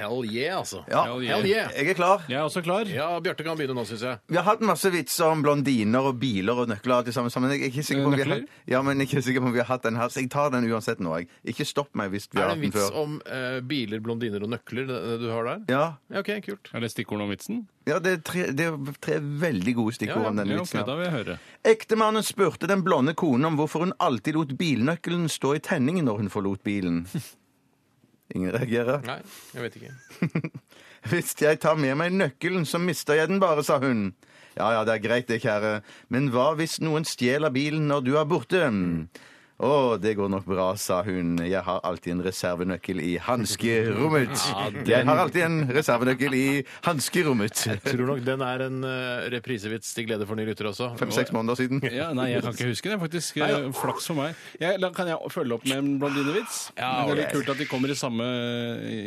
S3: Hell yeah, altså.
S4: Ja,
S5: Hell yeah.
S3: Hell yeah.
S4: jeg er klar.
S5: Jeg er også klar.
S3: Ja, Bjarte kan begynne nå, syns jeg.
S4: Vi har hatt masse vitser om blondiner og biler og nøkler. Til sammen, sammen. Jeg er ikke sikker på om vi har,
S5: Nøkler?
S4: ja, men jeg er ikke sikker på om vi har hatt den her, så jeg tar den uansett nå. Jeg. Ikke stopp meg hvis
S3: Er
S4: vi har
S3: det
S4: hatt
S3: en
S4: den
S3: vits
S4: før.
S3: om eh, biler, blondiner og nøkler det, det du har der?
S4: Ja,
S3: Ja, OK, kult.
S5: Er det stikkord om vitsen?
S4: ja det, er tre, det er tre veldig gode stikkord
S3: Ja, ja,
S4: om denne
S5: Ja, ok,
S4: vitsen. her.
S5: da vil jeg høre.
S4: Ektemannen spurte den blonde konen om hvorfor hun alltid lot bilnøkkelen stå i tenningen når hun forlot bilen. Ingen reagerer.
S3: Nei, jeg vet ikke.
S4: Hvis jeg tar med meg nøkkelen, så mister jeg den bare, sa hun. Ja ja, det er greit det, kjære, men hva hvis noen stjeler bilen når du er borte? Å, det går nok bra, sa hun. Jeg har alltid en reservenøkkel i hanskerommet. Jeg har alltid en reservenøkkel i hanskerommet.
S3: Tror nok den er en eh, reprisevits til glede for nye lyttere også.
S4: Fem-seks måneder siden.
S5: Ja, nei, jeg kan ikke huske det, faktisk. Eh, Flaks for meg. Jeg, da kan jeg følge opp med en blondinevits?
S3: Ja,
S5: det er
S3: ok.
S5: litt kult at de kommer i samme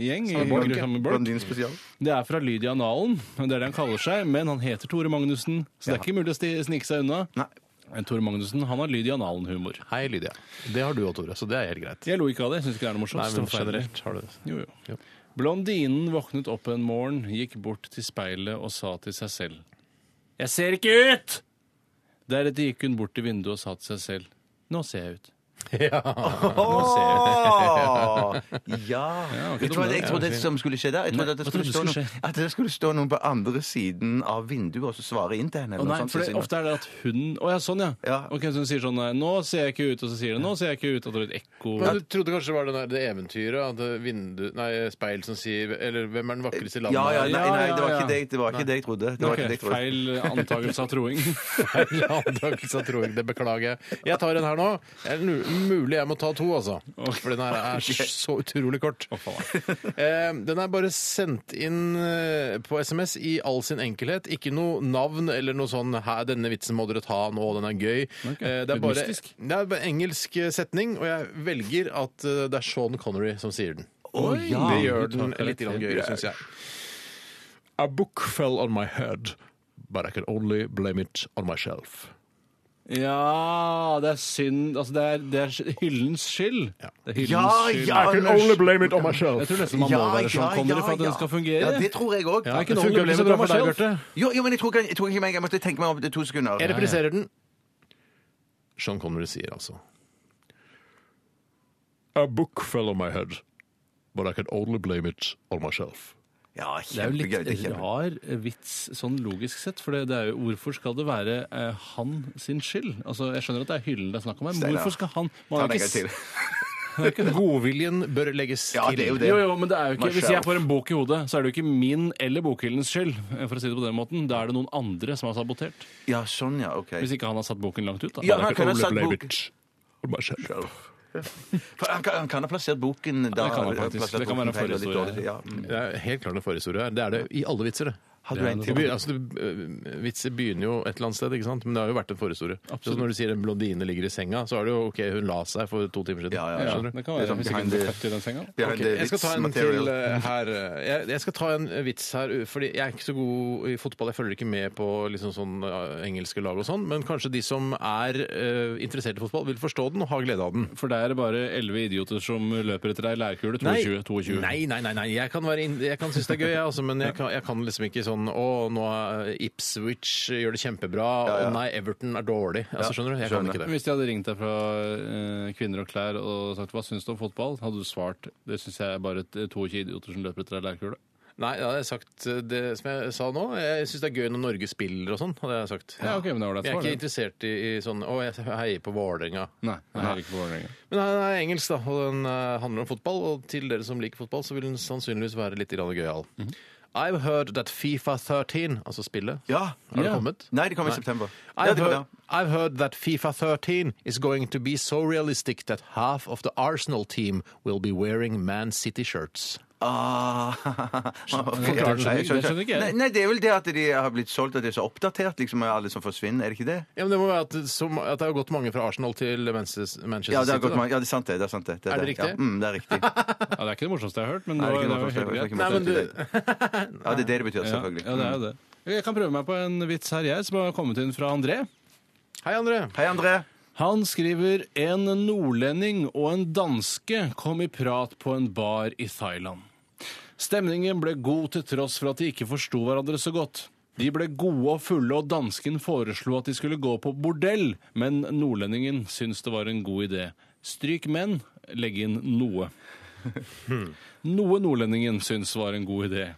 S5: gjeng. i-
S4: Bolk,
S5: samme bolk.
S4: Blondin spesial.
S5: Det er fra Lydia Nalen, det er det han kaller seg, men han heter Tore Magnussen, så det er ikke mulig å sti- snike seg unna.
S4: Nei.
S5: Men Tore Magnussen han har Lydia Nalen-humor.
S3: Hei, Lydia. Det har du òg, Tore, så det er helt greit.
S5: Jeg lo ikke av det, jeg syns ikke det er noe morsomt.
S3: Nei, men
S5: Det var feil.
S3: generelt har du det.
S5: Jo, jo.
S3: Jo.
S5: Blondinen våknet opp en morgen, gikk bort til speilet og sa til seg selv Jeg ser ikke ut! Deretter gikk hun bort til vinduet og sa til seg selv Nå ser jeg ut.
S4: Åh! Ja.
S5: ikke
S4: Jeg trodde,
S5: dumt,
S4: jeg
S5: ja,
S4: trodde det som skulle skje der, jeg trodde at det
S5: Hva
S4: skulle,
S5: trodde
S4: stå
S5: du skulle
S4: noen, at det skulle stå noen på andre siden av vinduet og så svare inn til henne.
S5: Å
S4: Eller
S5: nei,
S4: noe sånt,
S5: for det,
S4: Cecilie.
S5: ofte er det at hun Å ja, sånn, ja.
S4: Ja.
S5: Ok, Så hun sier sånn Nå ser jeg ikke ut, og så sier hun Nå ser jeg ikke ut, og det er et ekko.
S3: Men du trodde kanskje det var den der, det eventyret at det vindu, nei, speil som sier Eller hvem er den vakreste i landet?
S4: ja, ja, nei,
S5: Ja,
S4: nei,
S5: ja,
S4: det var
S5: ja.
S4: ikke det, det, var ikke det jeg trodde. Det var
S5: Ok,
S4: ikke det jeg trodde.
S5: feil antakelse av troing.
S3: Feil antakelse, tror jeg. Det beklager jeg. Jeg tar en her nå. Det er nu- mulig jeg må ta to, altså. For den her er så utrolig kort. Eh, Den er bare sendt inn eh, på SMS i all sin enkelhet. Ikke noe navn eller noe sånn «Hæ, 'Denne vitsen må dere ta nå, den er gøy'.
S5: Ok,
S3: Eh, Det er
S5: litt
S3: bare
S5: mystisk.
S3: det er bare engelsk eh, setning, og jeg velger at eh, det er Sean Connery som sier den.
S4: Å, ja.
S3: Det gjør
S5: Du
S3: den
S5: tar
S3: litt
S5: karakter.
S3: grann gøyere, syns jeg. A book fell on my head, but I can only blame it on myself.
S5: Ja, det er synd Altså, det er, det er hyllens skyld. Det er hyllens
S4: Ja,
S5: skyld.
S4: ja,
S3: I can only blame it on myself.
S5: Jeg tror nesten man må være sånn Connery for at den skal fungere.
S4: Ja, det tror jeg òg.
S5: Ja, ikke
S3: Det
S5: noe
S3: funker
S5: problem
S3: ikke så
S5: med
S3: bra for deg,
S5: myself.
S3: Bjarte.
S4: Jo, jo, men jeg tror, ikke- jeg tror ikke meg. Jeg måtte tenke meg om det to sekunder.
S3: Jeg repriserer den. Sean Connery sier altså A book fell on my head, but I can only blame it on myself.
S4: Ja,
S5: Det er jo
S4: kjempegøy. Det er
S5: litt
S4: kjempegøy.
S5: rar vits sånn logisk sett. For det, det er jo, hvorfor skal det være eh, han sin skyld? Altså, Jeg skjønner at det er hyllen det er snakk om her, men
S4: Steinar,
S5: hvorfor skal han
S4: Ta
S5: Man har
S4: den
S5: jo
S4: en gang
S5: ikke,
S4: til.
S5: s-
S3: Godviljen bør legges
S4: Ja, det er jo
S3: til.
S4: det.
S5: jo, jo, men det er jo ikke, Hvis jeg
S4: Myself.
S5: får en bok i hodet, så er det jo ikke min eller bokhyllens skyld. eh, for å si det på den måten. Da er det noen andre som har sabotert.
S4: Ja, sånn, ja. OK.
S5: Hvis ikke han har satt boken langt ut. da.
S4: Ja,
S5: Da
S4: han
S5: er det ikke
S4: kunne
S5: noe
S4: satt
S5: problem.
S4: bok-
S3: on myself.
S4: For han, kan, han kan ha plassert boken da.
S5: kan han faktisk.
S4: plassert
S5: Det kan
S4: boken
S5: være en
S4: feil og litt
S5: forhistorie.
S4: dårlig, Ja. Mm.
S3: Det er helt klart en forhistorie her. Det er det i alle vitser, det.
S4: Har du en
S3: Det
S4: til?
S3: begynner, altså, det, øh, vitser begynner jo et eller annet sted, ikke sant? men det har jo vært en forhistorie. Så når du sier en blondine ligger i senga, så er det jo OK, hun la seg for to timer siden.
S4: Ja, ja,
S5: Ja,
S3: Skjønner du?
S5: det kan være,
S4: sånn
S5: hvis ikke
S4: behind
S5: han blir
S4: the-
S5: født i den senga.
S4: Behind
S3: Ok,
S4: the
S3: jeg skal ta
S4: wits
S3: en
S4: material.
S3: til eh, her. eh, Jeg, jeg skal ta en vits her, eh, fordi jeg er ikke så god i fotball. Jeg følger ikke med på liksom sånn eh, engelske lag og sånn, men kanskje de som er eh, interessert i fotball, vil forstå den og ha glede av den.
S5: For det er bare elleve idioter som løper etter ei leirkule. 22. 22.
S3: Nei, nei, nei, nei. Jeg kan, være inn- jeg kan synes det er gøy, jeg, altså, men jeg kan, jeg kan liksom ikke sånn Å, nå er Ipswich gjør det kjempebra. Å nei, Everton er dårlig. Altså, skjønner du? Jeg kan
S4: skjønner.
S3: ikke det.
S5: Hvis de hadde ringt deg fra eh, Kvinner og klær og sagt hva syns du om fotball, hadde du svart det syns jeg er bare t- 22 idioter som løper etter ei leirkule.
S3: Nei, da hadde jeg sagt eh, det som jeg sa nå. Jeg syns det er gøy når Norge spiller og sånn, hadde jeg sagt.
S5: Ja, ok, men det var det
S3: jeg er
S5: svaret.
S3: ikke interessert i, i sånn Å, jeg heier på Vålerenga.
S5: Nei, jeg er ikke på Vålerenga.
S3: Men den er engelsk, da, og den eh, handler om fotball. Og til dere som liker fotball, så vil den sannsynligvis være litt grann gøyal. I've heard that Fifa 13, altså spillet
S4: Ja.
S3: Har det
S5: Mhm. Ja.
S3: kommet?
S4: Nei, det kom i september. Ja,
S3: I've
S4: det kom,
S3: heard,
S4: ja.
S3: I've heard that FIFA 13 is going to be so realistic that half of the Arsenal team will be wearing Man City shirts.
S4: Ah, okay.
S5: Forklar det,
S4: Nei,
S5: det skjønner ikke jeg.
S4: Nei, Nei, det er vel det at de har blitt solgt, at det er så oppdatert, liksom, med alle som forsvinner. Er det ikke det?
S3: Ja, men Det må være at, som, at det har gått mange fra Arsenal til Manchester, Manchester
S4: Ja, det, har
S3: City.
S4: gått,
S3: da.
S4: mange- ja, det er sant, det. det er sant det. det,
S3: Er det
S4: Ja,
S3: riktig?
S4: mm, det er riktig.
S5: Ja, det er ikke det morsomste jeg har hørt, men
S4: Nei,
S5: det
S4: det er ikke
S5: var, det
S4: noe
S5: var
S4: forståelig, det er
S5: helt greit.
S4: ikke
S3: Nei,
S4: noe
S3: men du,
S4: forståelig. Ja, det er det det betyr,
S5: Ja,
S4: selvfølgelig. Mm.
S5: ja, det er jo det. Jeg kan prøve meg på en vits her, jeg, som har kommet inn fra André.
S3: Hei, André.
S4: Hei, André.
S5: Han skriver en nordlending og en danske kom i prat på en bar i Thailand. Stemningen ble god til tross for at de ikke forsto hverandre så godt. De ble gode og fulle, og dansken foreslo at de skulle gå på bordell, men nordlendingen syntes det var en god idé. Stryk menn, legg inn noe. Noe nordlendingen syntes var en god idé.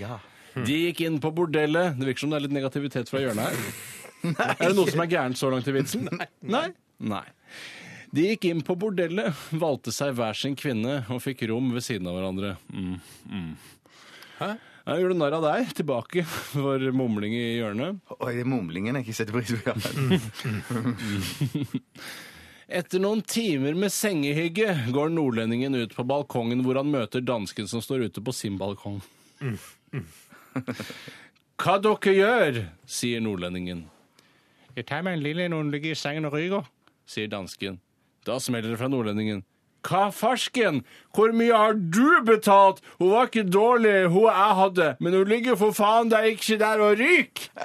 S4: Ja.
S5: De gikk inn på bordellet. Det virker som det er litt negativitet fra hjørnet her. Er det noe som er gærent så langt i vitsen? Nei. Nei. De gikk inn på bordellet, valgte seg hver sin kvinne og fikk rom ved siden av hverandre. Mm. Mm. Jeg gjør du narr av deg? Tilbake for mumling i hjørnet.
S4: Oi, det er mumlingen jeg ikke setter pris på.
S5: Etter noen timer med sengehygge går nordlendingen ut på balkongen hvor han møter dansken som står ute på sin balkong. Mm. Hva dere gjør, sier nordlendingen. Jeg tar meg en lille når den ligger i sengen og ryker, sier dansken. Da smeller det fra nordlendingen. Hva farsken? Hvor mye har du betalt? Hun var ikke dårlig, hun jeg hadde, men hun ligger for faen da ikke der og ryker!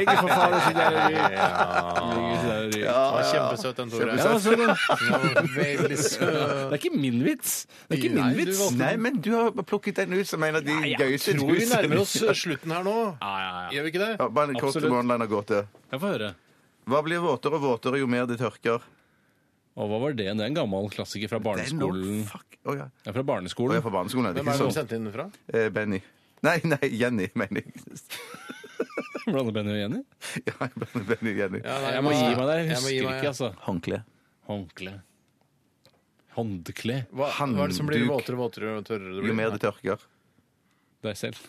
S5: Ligger for faen ikke der og ryker. Ligger ikke der og ryker.
S3: Det var kjempesøt, den Tore.
S5: Ja, altså, den-
S3: Ja, den var veldig søt.
S5: det er ikke min vits. Det er ikke min
S3: Nei, du
S5: vits.
S3: valgte-
S4: Nei, men du har plukket den ut som en av de gøyeste
S3: Tror vi
S4: tusen.
S3: nærmer oss slutten her nå.
S5: Ja, ja, ja.
S3: Gjør vi ikke det?
S4: Ja, bare en kort
S5: Absolutt.
S4: one-liner-gåte.
S5: Jeg får høre.
S4: Hva blir våtere og våtere jo mer det tørker?
S5: Og hva var det? Det er en gammel klassiker fra barneskolen.
S4: Den- Fuck. Å ja.
S5: Ja, fra
S4: Å, jeg
S5: barneskolen.
S4: er fra barneskolen. er Det
S3: Hvem er det
S4: ikke
S3: som
S4: sånn.
S3: sendte inn den fra?
S4: Eh, Benny. Nei, nei, Jenny, mener jeg.
S5: Blander Benny og Jenny.
S4: Ja, Benny, Jenny.
S5: Jeg må gi meg der.
S3: Jeg må gi
S5: Jeg husker
S3: meg,
S5: ikke, altså.
S4: Håndkle.
S5: Håndkle. Håndkle.
S3: Hva, hva er det som blir
S4: Handduk.
S3: våtere og våtere og tørrere? Det
S4: Jo mer
S3: blir?
S4: det tørker.
S5: Deg selv.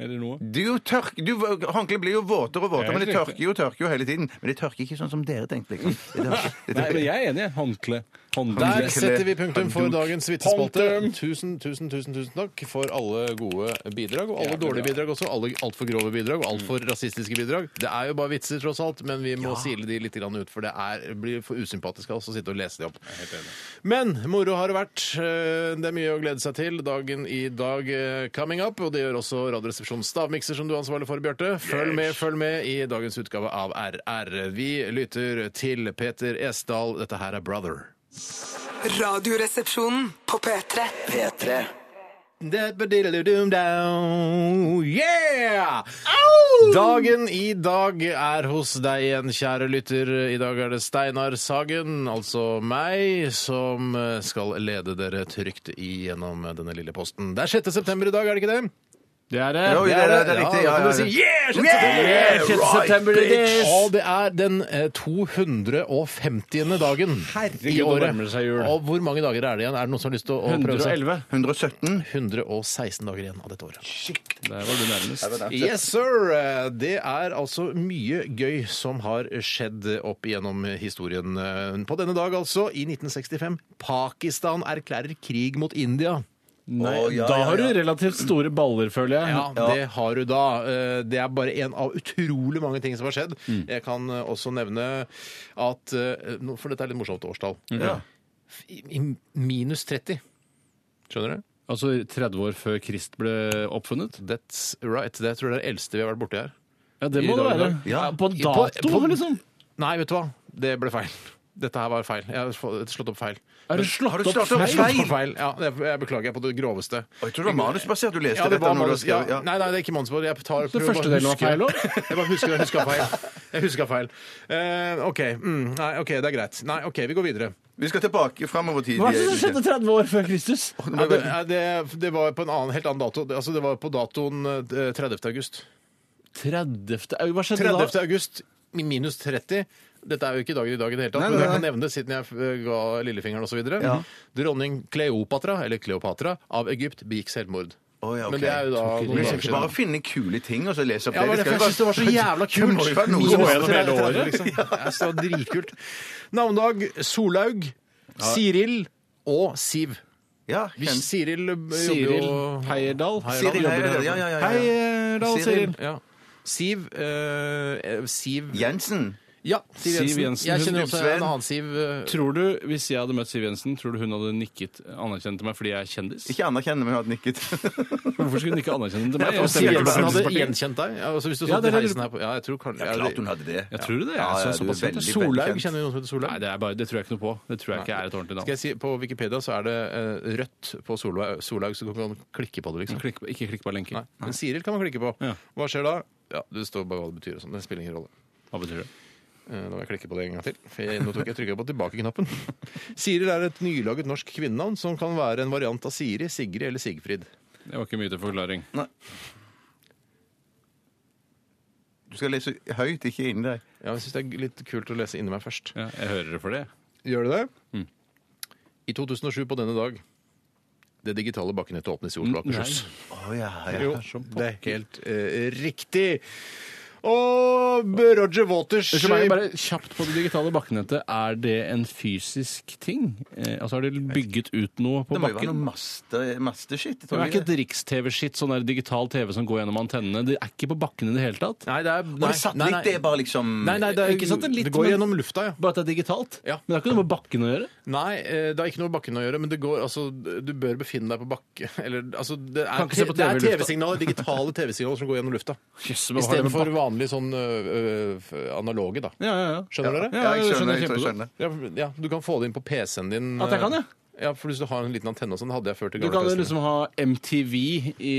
S5: Eller noe.
S4: Du, tørk, du, håndkle blir jo våtere og våtere,
S5: Helt
S4: men det
S5: riktig.
S4: tørker jo, tørker jo hele tiden. Men det tørker ikke sånn som dere tenkte. Liksom. Det tørker, det
S5: Nei, men
S4: tørker.
S5: jeg er enig. jeg. Håndkle.
S3: Der
S5: Håndkle.
S4: Handduk.
S3: setter vi punktum for
S4: Handduk.
S3: dagens vitsespalte.
S5: Punktum.
S3: Tusen, tusen, tusen, tusen takk for alle gode bidrag, og alle
S5: Jævlig
S3: dårlige
S5: bra.
S3: bidrag også. Alle altfor grove bidrag og altfor rasistiske bidrag. Det er jo bare vitser, tross alt, men vi må sile de litt grann ut, for det er, blir for usympatisk av oss å sitte og lese de opp. Men moro har det vært. Eh, Det er mye å glede seg til. Dagen i dag eh, coming up, og det gjør også Radioresepsjonens stavmikser, som du er ansvarlig for, Bjarte. Følg med, følg med i dagens utgave av RR. Vi lytter til Peter Esdal. Dette her er Brother.
S6: Radioresepsjonen på P3.
S2: P3
S3: Yeah! Dagen i dag er hos deg igjen, kjære lytter. I dag er det Steinar Sagen, altså meg, som skal lede dere trygt igjennom denne lille posten. Det er 6. september i dag, er det ikke det?
S5: Det er eh, det.
S4: Jo, det, er- det er
S3: Ja,
S4: riktig.
S3: da
S4: Ja,
S3: kan
S4: ja,
S3: du si
S4: ja.
S3: yeah! 6.
S5: Yeah,
S3: september!
S5: 6. september it is.
S3: Og det er den eh, 250. dagen
S5: Herregud,
S3: i
S5: nå
S3: året.
S5: nærmer det seg jul.
S3: Og hvor mange dager er det igjen? Er det noen som har lyst til å å prøve seg?
S5: 111.
S4: 117.
S3: 116 dager igjen av dette året.
S5: Der var du nærmest.
S3: Yes, sir! Det er altså mye gøy som har skjedd opp igjennom historien. På denne dag, altså, i 1965. Pakistan erklærer krig mot India.
S5: Nei,
S4: Å, ja,
S5: da
S4: ja,
S5: har du
S4: ja.
S5: relativt store baller, føler jeg.
S3: Ja, det har du da. Eh, Det er bare en av utrolig mange ting som har skjedd. Jeg kan eh, også nevne at eh, nå- For dette er litt morsomt årstall.
S4: Ja.
S3: I i minus 30. Skjønner du?
S5: Altså 30 år før Krist ble oppfunnet?
S3: That's right. Det tror jeg er det eldste vi har vært borti her.
S5: Ja, det
S3: I
S5: må det
S3: dag,
S5: være.
S3: da.
S5: Ja. På
S3: I-
S5: dato,
S3: på- på-
S5: liksom.
S3: Nei, vet du hva? Det ble feil. Dette her var feil. Jeg har få- slått opp feil.
S5: Er det slått opp
S4: slått opp
S5: feil?
S4: feil?
S3: Slått opp feil. Ja, jeg, jeg beklager på det groveste.
S4: Og jeg tror det var manusbasert du leste
S3: Ja, det
S4: dette.
S3: var
S4: når du har
S3: manus, ja.
S4: skrevet- ja.
S3: Nei, nei, det er ikke manusbord. Jeg tar prøver
S5: Den
S3: bare
S5: første
S3: å
S5: delen var
S3: huske.
S5: feil også?
S3: Jeg bare husker jeg huska feil. Jeg huska feil. Eh, OK. Mm, nei, OK, det er greit. Nei, OK, vi går videre.
S4: Vi skal tilbake framover tid.
S5: Hva er det som skjedde 30 år før Kristus?
S3: Nei, det, nei, det, det var på en annen, helt annen dato. Det- Altså, det var på datoen eh, 30. august.
S5: 30. au, Hva skjedde
S3: 30.
S5: da?
S3: august i minus 30. Dette er jo ikke dagen i dag i det hele tatt,
S4: Nei,
S3: men
S4: nei,
S3: jeg kan nevne det siden jeg eh, ga lillefingeren osv. videre
S4: Ja.
S3: Dronning Kleopatra, eller Kleopatra, av Egypt begikk selvmord.
S4: Å, ja, ok.
S3: Men det er jo da noen
S4: Vi skal
S3: dager
S4: ikke bare
S3: siden.
S4: finne kule ting og så lese opp
S3: Ja, det var
S4: Vi
S3: derfor
S4: skal
S3: jeg syntes det var så jævla
S4: Det
S3: kult.
S4: må jo være noe
S3: Minus
S4: som-
S3: 30, liksom. Det er så dritkult. Navndag Solhaug, Siril og Siv.
S4: Ja,
S3: Vi,
S4: kjent.
S3: Siril eh, jobber
S5: Siril
S3: jo
S5: Heierdal.
S4: Siril, ja, ja, ja, ja, ja.
S5: Hei, eh, Dal Siril.
S4: Siril.
S3: Ja. Siv eh, Siv
S4: Jensen.
S3: Ja, Siv Jensen.
S5: Siv Jensen.
S3: Jeg kjenner også
S4: Sveen.
S3: en annen Siv. eh,
S5: Tror du, Hvis jeg hadde møtt Siv Jensen, tror du hun hadde nikket anerkjent til meg fordi jeg er kjendis?
S4: Ikke anerkjenne, men hun hadde nikket.
S5: Hvorfor skulle hun ikke anerkjenne til meg?
S3: Og Siv
S5: Jeg er
S3: Jensen hadde
S5: Fremskrittspartiet.
S3: gjenkjent deg? Ja, Altså, hvis du
S5: Ja,
S3: satt
S5: det liksom.
S3: i
S5: er det-
S3: heisen her på Ja, jeg tror kanskje ja, det-
S4: hadde det.
S5: Jeg tror det. Jeg
S4: Ja,
S5: er
S4: ja,
S5: så-
S4: du er
S5: såpass kjent.
S4: veldig, veldig
S3: Solhaug,
S4: kjent.
S3: kjenner vi noen som heter
S5: Nei,
S3: Solhaug?
S5: det, er bare, det tror jeg ikke noe på. Det tror jeg ikke er et ordentlig
S3: Skal
S5: navn.
S3: jeg si, På Wikipedia så er det eh, rødt på Solhaug, Solhaug, så du kan klikke på det, liksom.
S5: Klikk, på- ikke klikk på lenker.
S3: Nei. Men Siril kan man klikke på.
S5: Ja.
S3: Hva skjer da? Ja, Det står bare hva det betyr. og sånn. Det spiller ingen rolle.
S5: Hva betyr det?
S3: Eh, Nå må jeg klikke på det en gang til. For jeg, nå tok jeg trykket på tilbake-knappen. Siril er et nylaget norsk kvinnenavn som kan være en variant av Siri, Sigrid eller Sigfrid.
S5: Det var ikke mye til forklaring.
S4: Du skal lese høyt, ikke inni deg.
S3: Ja, jeg syns det er litt kult å lese inni meg først.
S5: Ja, jeg hører det for det.
S3: Gjør du det? I 2007 på denne dag det digitale bakkenettet åpnes i
S5: Mm,
S3: Oslo og Akershus.
S4: Å, ja, ja.
S3: Jo, det er helt eh, riktig. Og B- Roger Waters
S5: Unnskyld meg, bare kjapt på det digitale bakkenettet. Er det en fysisk ting? Eh, altså Har de bygget ut noe på
S4: Det må jo være
S5: bakken?
S4: noe maste, masteskitt.
S5: Det er ikke et riks-TV-skitt, sånn der digital TV som går gjennom antennene. Det er ikke på bakken i det hele tatt.
S3: Nei, det er nei,
S4: Nei, nei, nei. Det er bare liksom
S3: Nei, nei, det, er,
S5: Ikke sant, det er litt,
S3: Eh, det går
S5: men-
S3: gjennom lufta, ja.
S5: Bare at det er digitalt.
S3: Ja.
S5: Men det har ikke noe med bakken å gjøre.
S3: Nei, eh, det har ikke noe med bakken å gjøre, men det går, altså, du bør befinne deg på bakke. Eller, altså, det er
S5: Kan ikke se på
S3: det er
S5: TV i lufta.
S3: TV-signaler, digitale TV-signaler som går gjennom lufta.
S5: Yes,
S3: I stedet for vanlig sånn ø, ø, analoge, da.
S5: Ja, ja, ja.
S3: Skjønner dere?
S5: Ja.
S4: Ja, jeg
S5: det
S4: skjønner.
S5: skjønner
S4: Jeg,
S5: jeg
S4: jeg
S5: kjempegodt.
S4: skjønner.
S3: Ja, for- ja, du kan få det inn på PC-en din.
S5: At jeg kan,
S3: ja?
S5: ja?
S3: Ja, for hvis du har en liten antenne og sånn, hadde jeg ført til
S5: Du kan jo
S3: gamle PC-en.
S5: liksom ha MTV i,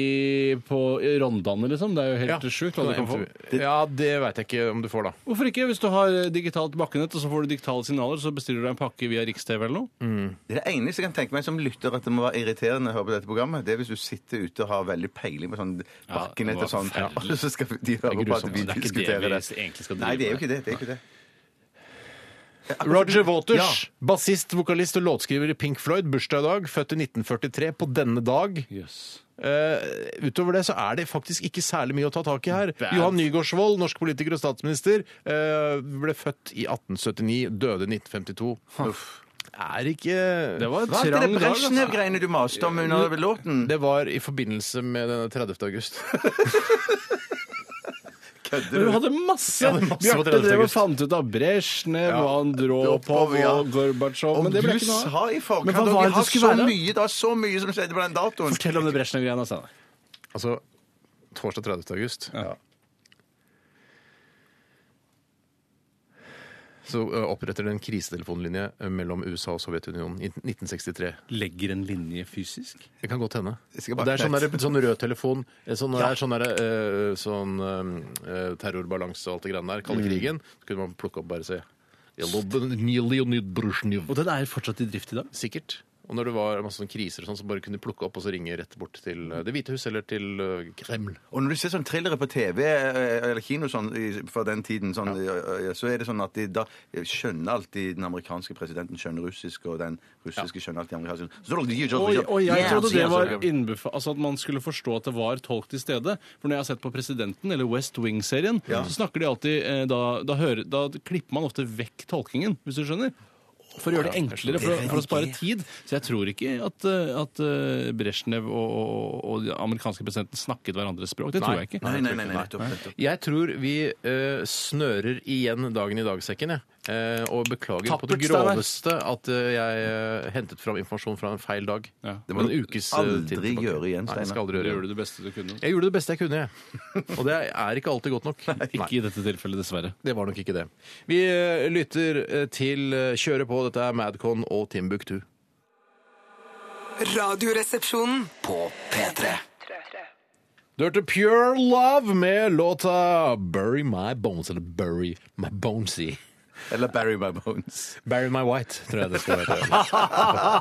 S5: på i Rondane, liksom. Det er jo helt sjukt hva du kan få.
S3: Ja, det veit jeg ikke om du får, da.
S5: Hvorfor ikke? Hvis du har eh, digitalt bakkenett, og så får du digitale signaler, så bestiller du deg en pakke via Riks-TV eller noe.
S4: det er det eneste jeg kan tenke meg som lytter at det må være irriterende å høre på dette programmet. Det er hvis du sitter ute og har veldig peiling på sånn bakkenett
S5: det
S4: og sånn,
S5: var forferdelig.
S4: og så skal de høre på at
S5: grusomt.
S4: vi
S5: sånn? Det er ikke det
S4: diskuterer
S5: vi
S4: det.
S5: egentlig skal drive
S4: Nei, det er jo
S5: med.
S4: ikke det. det, er ikke det.
S3: Roger Waters,
S4: Ja.
S3: bassist, vokalist og låtskriver i Pink Floyd, bursdag i dag, født i 1943. På denne dag. Eh, utover det så er det faktisk ikke særlig mye å ta tak i her.
S5: Bad.
S3: Johan Nygaardsvold, norsk politiker og statsminister, eh, ble født i 1879, døde i 1952. Er ikke
S5: Det var en
S4: Hva er
S5: trang
S4: det
S5: dag. altså.
S4: Brezjnev-greiene du maste om under låten?
S3: Det var i forbindelse med denne 30. august.
S5: Men Du hadde masse!
S3: hadde masse på
S5: Bjarte
S3: 30.
S5: drev og
S3: august.
S5: fant ut av Brezjnev, ja. Andropov
S4: Andropov, ja.
S5: og Gorbatsjov
S4: Om
S5: Men det
S4: du
S5: ble ikke noe
S4: sa
S5: av.
S4: i
S5: Men
S4: forkant
S5: hva
S4: og
S5: var
S4: vi
S5: det
S4: har
S5: det
S4: så
S5: skulle være?
S4: mye, det var så mye som skjedde på den datoen.
S5: Fortell om det Brezjnev-greiene. Altså.
S3: Altså torsdag 30. august. Så ø, oppretter det en krisetelefonlinje ø, mellom USA og Sovjetunionen i 1963.
S5: Legger en linje fysisk?
S3: Det kan godt hende.
S4: Jeg skal
S3: Og
S4: bare-
S3: Det er sånn, der, sånn rød telefon, eh, sånn, der, sånn, der, ø, sånn ø, terrorbalanse og alt det greiene der, kalde krigen. Så kunne man plukke opp bare se. Leonid Brezjnev.
S5: Og den er fortsatt i drift i dag?
S3: Sikkert. Og når det var masse sånne kriser og sånn, så bare kunne de plukke opp og så ringe rett bort til ø, Det hvite hus eller til ø, Kreml.
S4: Og når du ser sånn thrillere på TV eh, eller kino sånn, i- fra den tiden, sånn, eh, eh, så er det sånn at de, da skjønner alltid den amerikanske presidenten skjønner russisk, og den russiske skjønner alltid amerikansk. Så da- de-
S5: Oi, oi, jeg
S4: liksom. Ja,
S5: trodde det
S4: sier
S5: var
S4: jeg så.
S5: innbefa... Altså at man skulle forstå at det var tolk til stede. For når jeg har sett på Presidenten, eller West Wing-serien, så snakker de alltid eh, da, da, hører, da klipper man ofte vekk tolkingen, hvis du skjønner. For å gjøre det enklere, for, å- for å spare tid. Så jeg tror ikke at, eh, at eh, Brezjnev og, og, og den amerikanske presidenten snakket hverandres språk. Det tror jeg ikke.
S4: Nei, nei, nei, nei, nettopp, nettopp.
S3: Jeg tror vi eh, snører igjen dagen i dag-sekken, jeg. Eh, og beklager på det
S5: Tappert, Steinar.
S3: groveste at eh, jeg eh, hentet fram informasjon fra en feil dag.
S5: Ja.
S3: Det var en ukes eh,
S4: aldri
S3: tid tilbake.
S4: gjøre igjen,
S3: Nei, jeg skal
S4: Steinar.
S3: aldri
S5: Du
S3: gjøre
S5: gjorde
S3: igjen.
S5: det beste du kunne.
S3: Jeg gjorde det beste jeg kunne, jeg. Og det er ikke alltid godt nok. Nei,
S5: Ikke i dette tilfellet, dessverre.
S3: det var nok ikke det. Vi eh, lytter eh, til eh, Kjøre på. Dette er Madcon og Timbuktu.
S6: Radioresepsjonen.
S2: På P3
S3: Du hørte Pure Love med låta Bury My Bones, eller Bury My Bonesy.
S4: Eller Barry My Bones.
S3: Barry My White, tror jeg det skal være.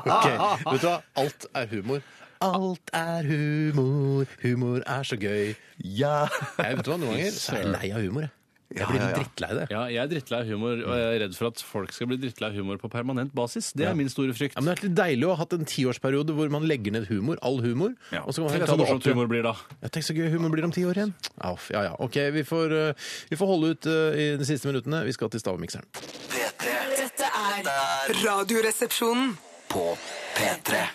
S3: Ok, Vet du hva? Alt er humor. Alt er humor, humor er så gøy.
S4: Ja.
S3: Jeg vet du hva, Noen ganger så er jeg lei av humor. Jeg, jeg blir
S4: Ja, ja, ja.
S3: drittlei det.
S5: Ja, jeg er drittlei av humor, og jeg er redd for at folk skal bli drittlei av humor på permanent basis. Det er min store frykt.
S3: Ja, men det er litt deilig å ha hatt en tiårsperiode hvor man legger ned humor, all humor.
S4: Ja.
S3: Og så kan man
S5: Tenk
S3: heller
S5: så
S3: ta det
S5: morsomt
S3: opp igjen.
S5: humor blir da.
S3: Ja, tenk så gøy humor blir om ti år igjen. Ja, f- ja, ja. OK, vi får, eh, vi får holde ut eh, i de siste minuttene. Vi skal til stavmikseren.
S2: P3
S6: Dette er Radioresepsjonen.
S2: På P3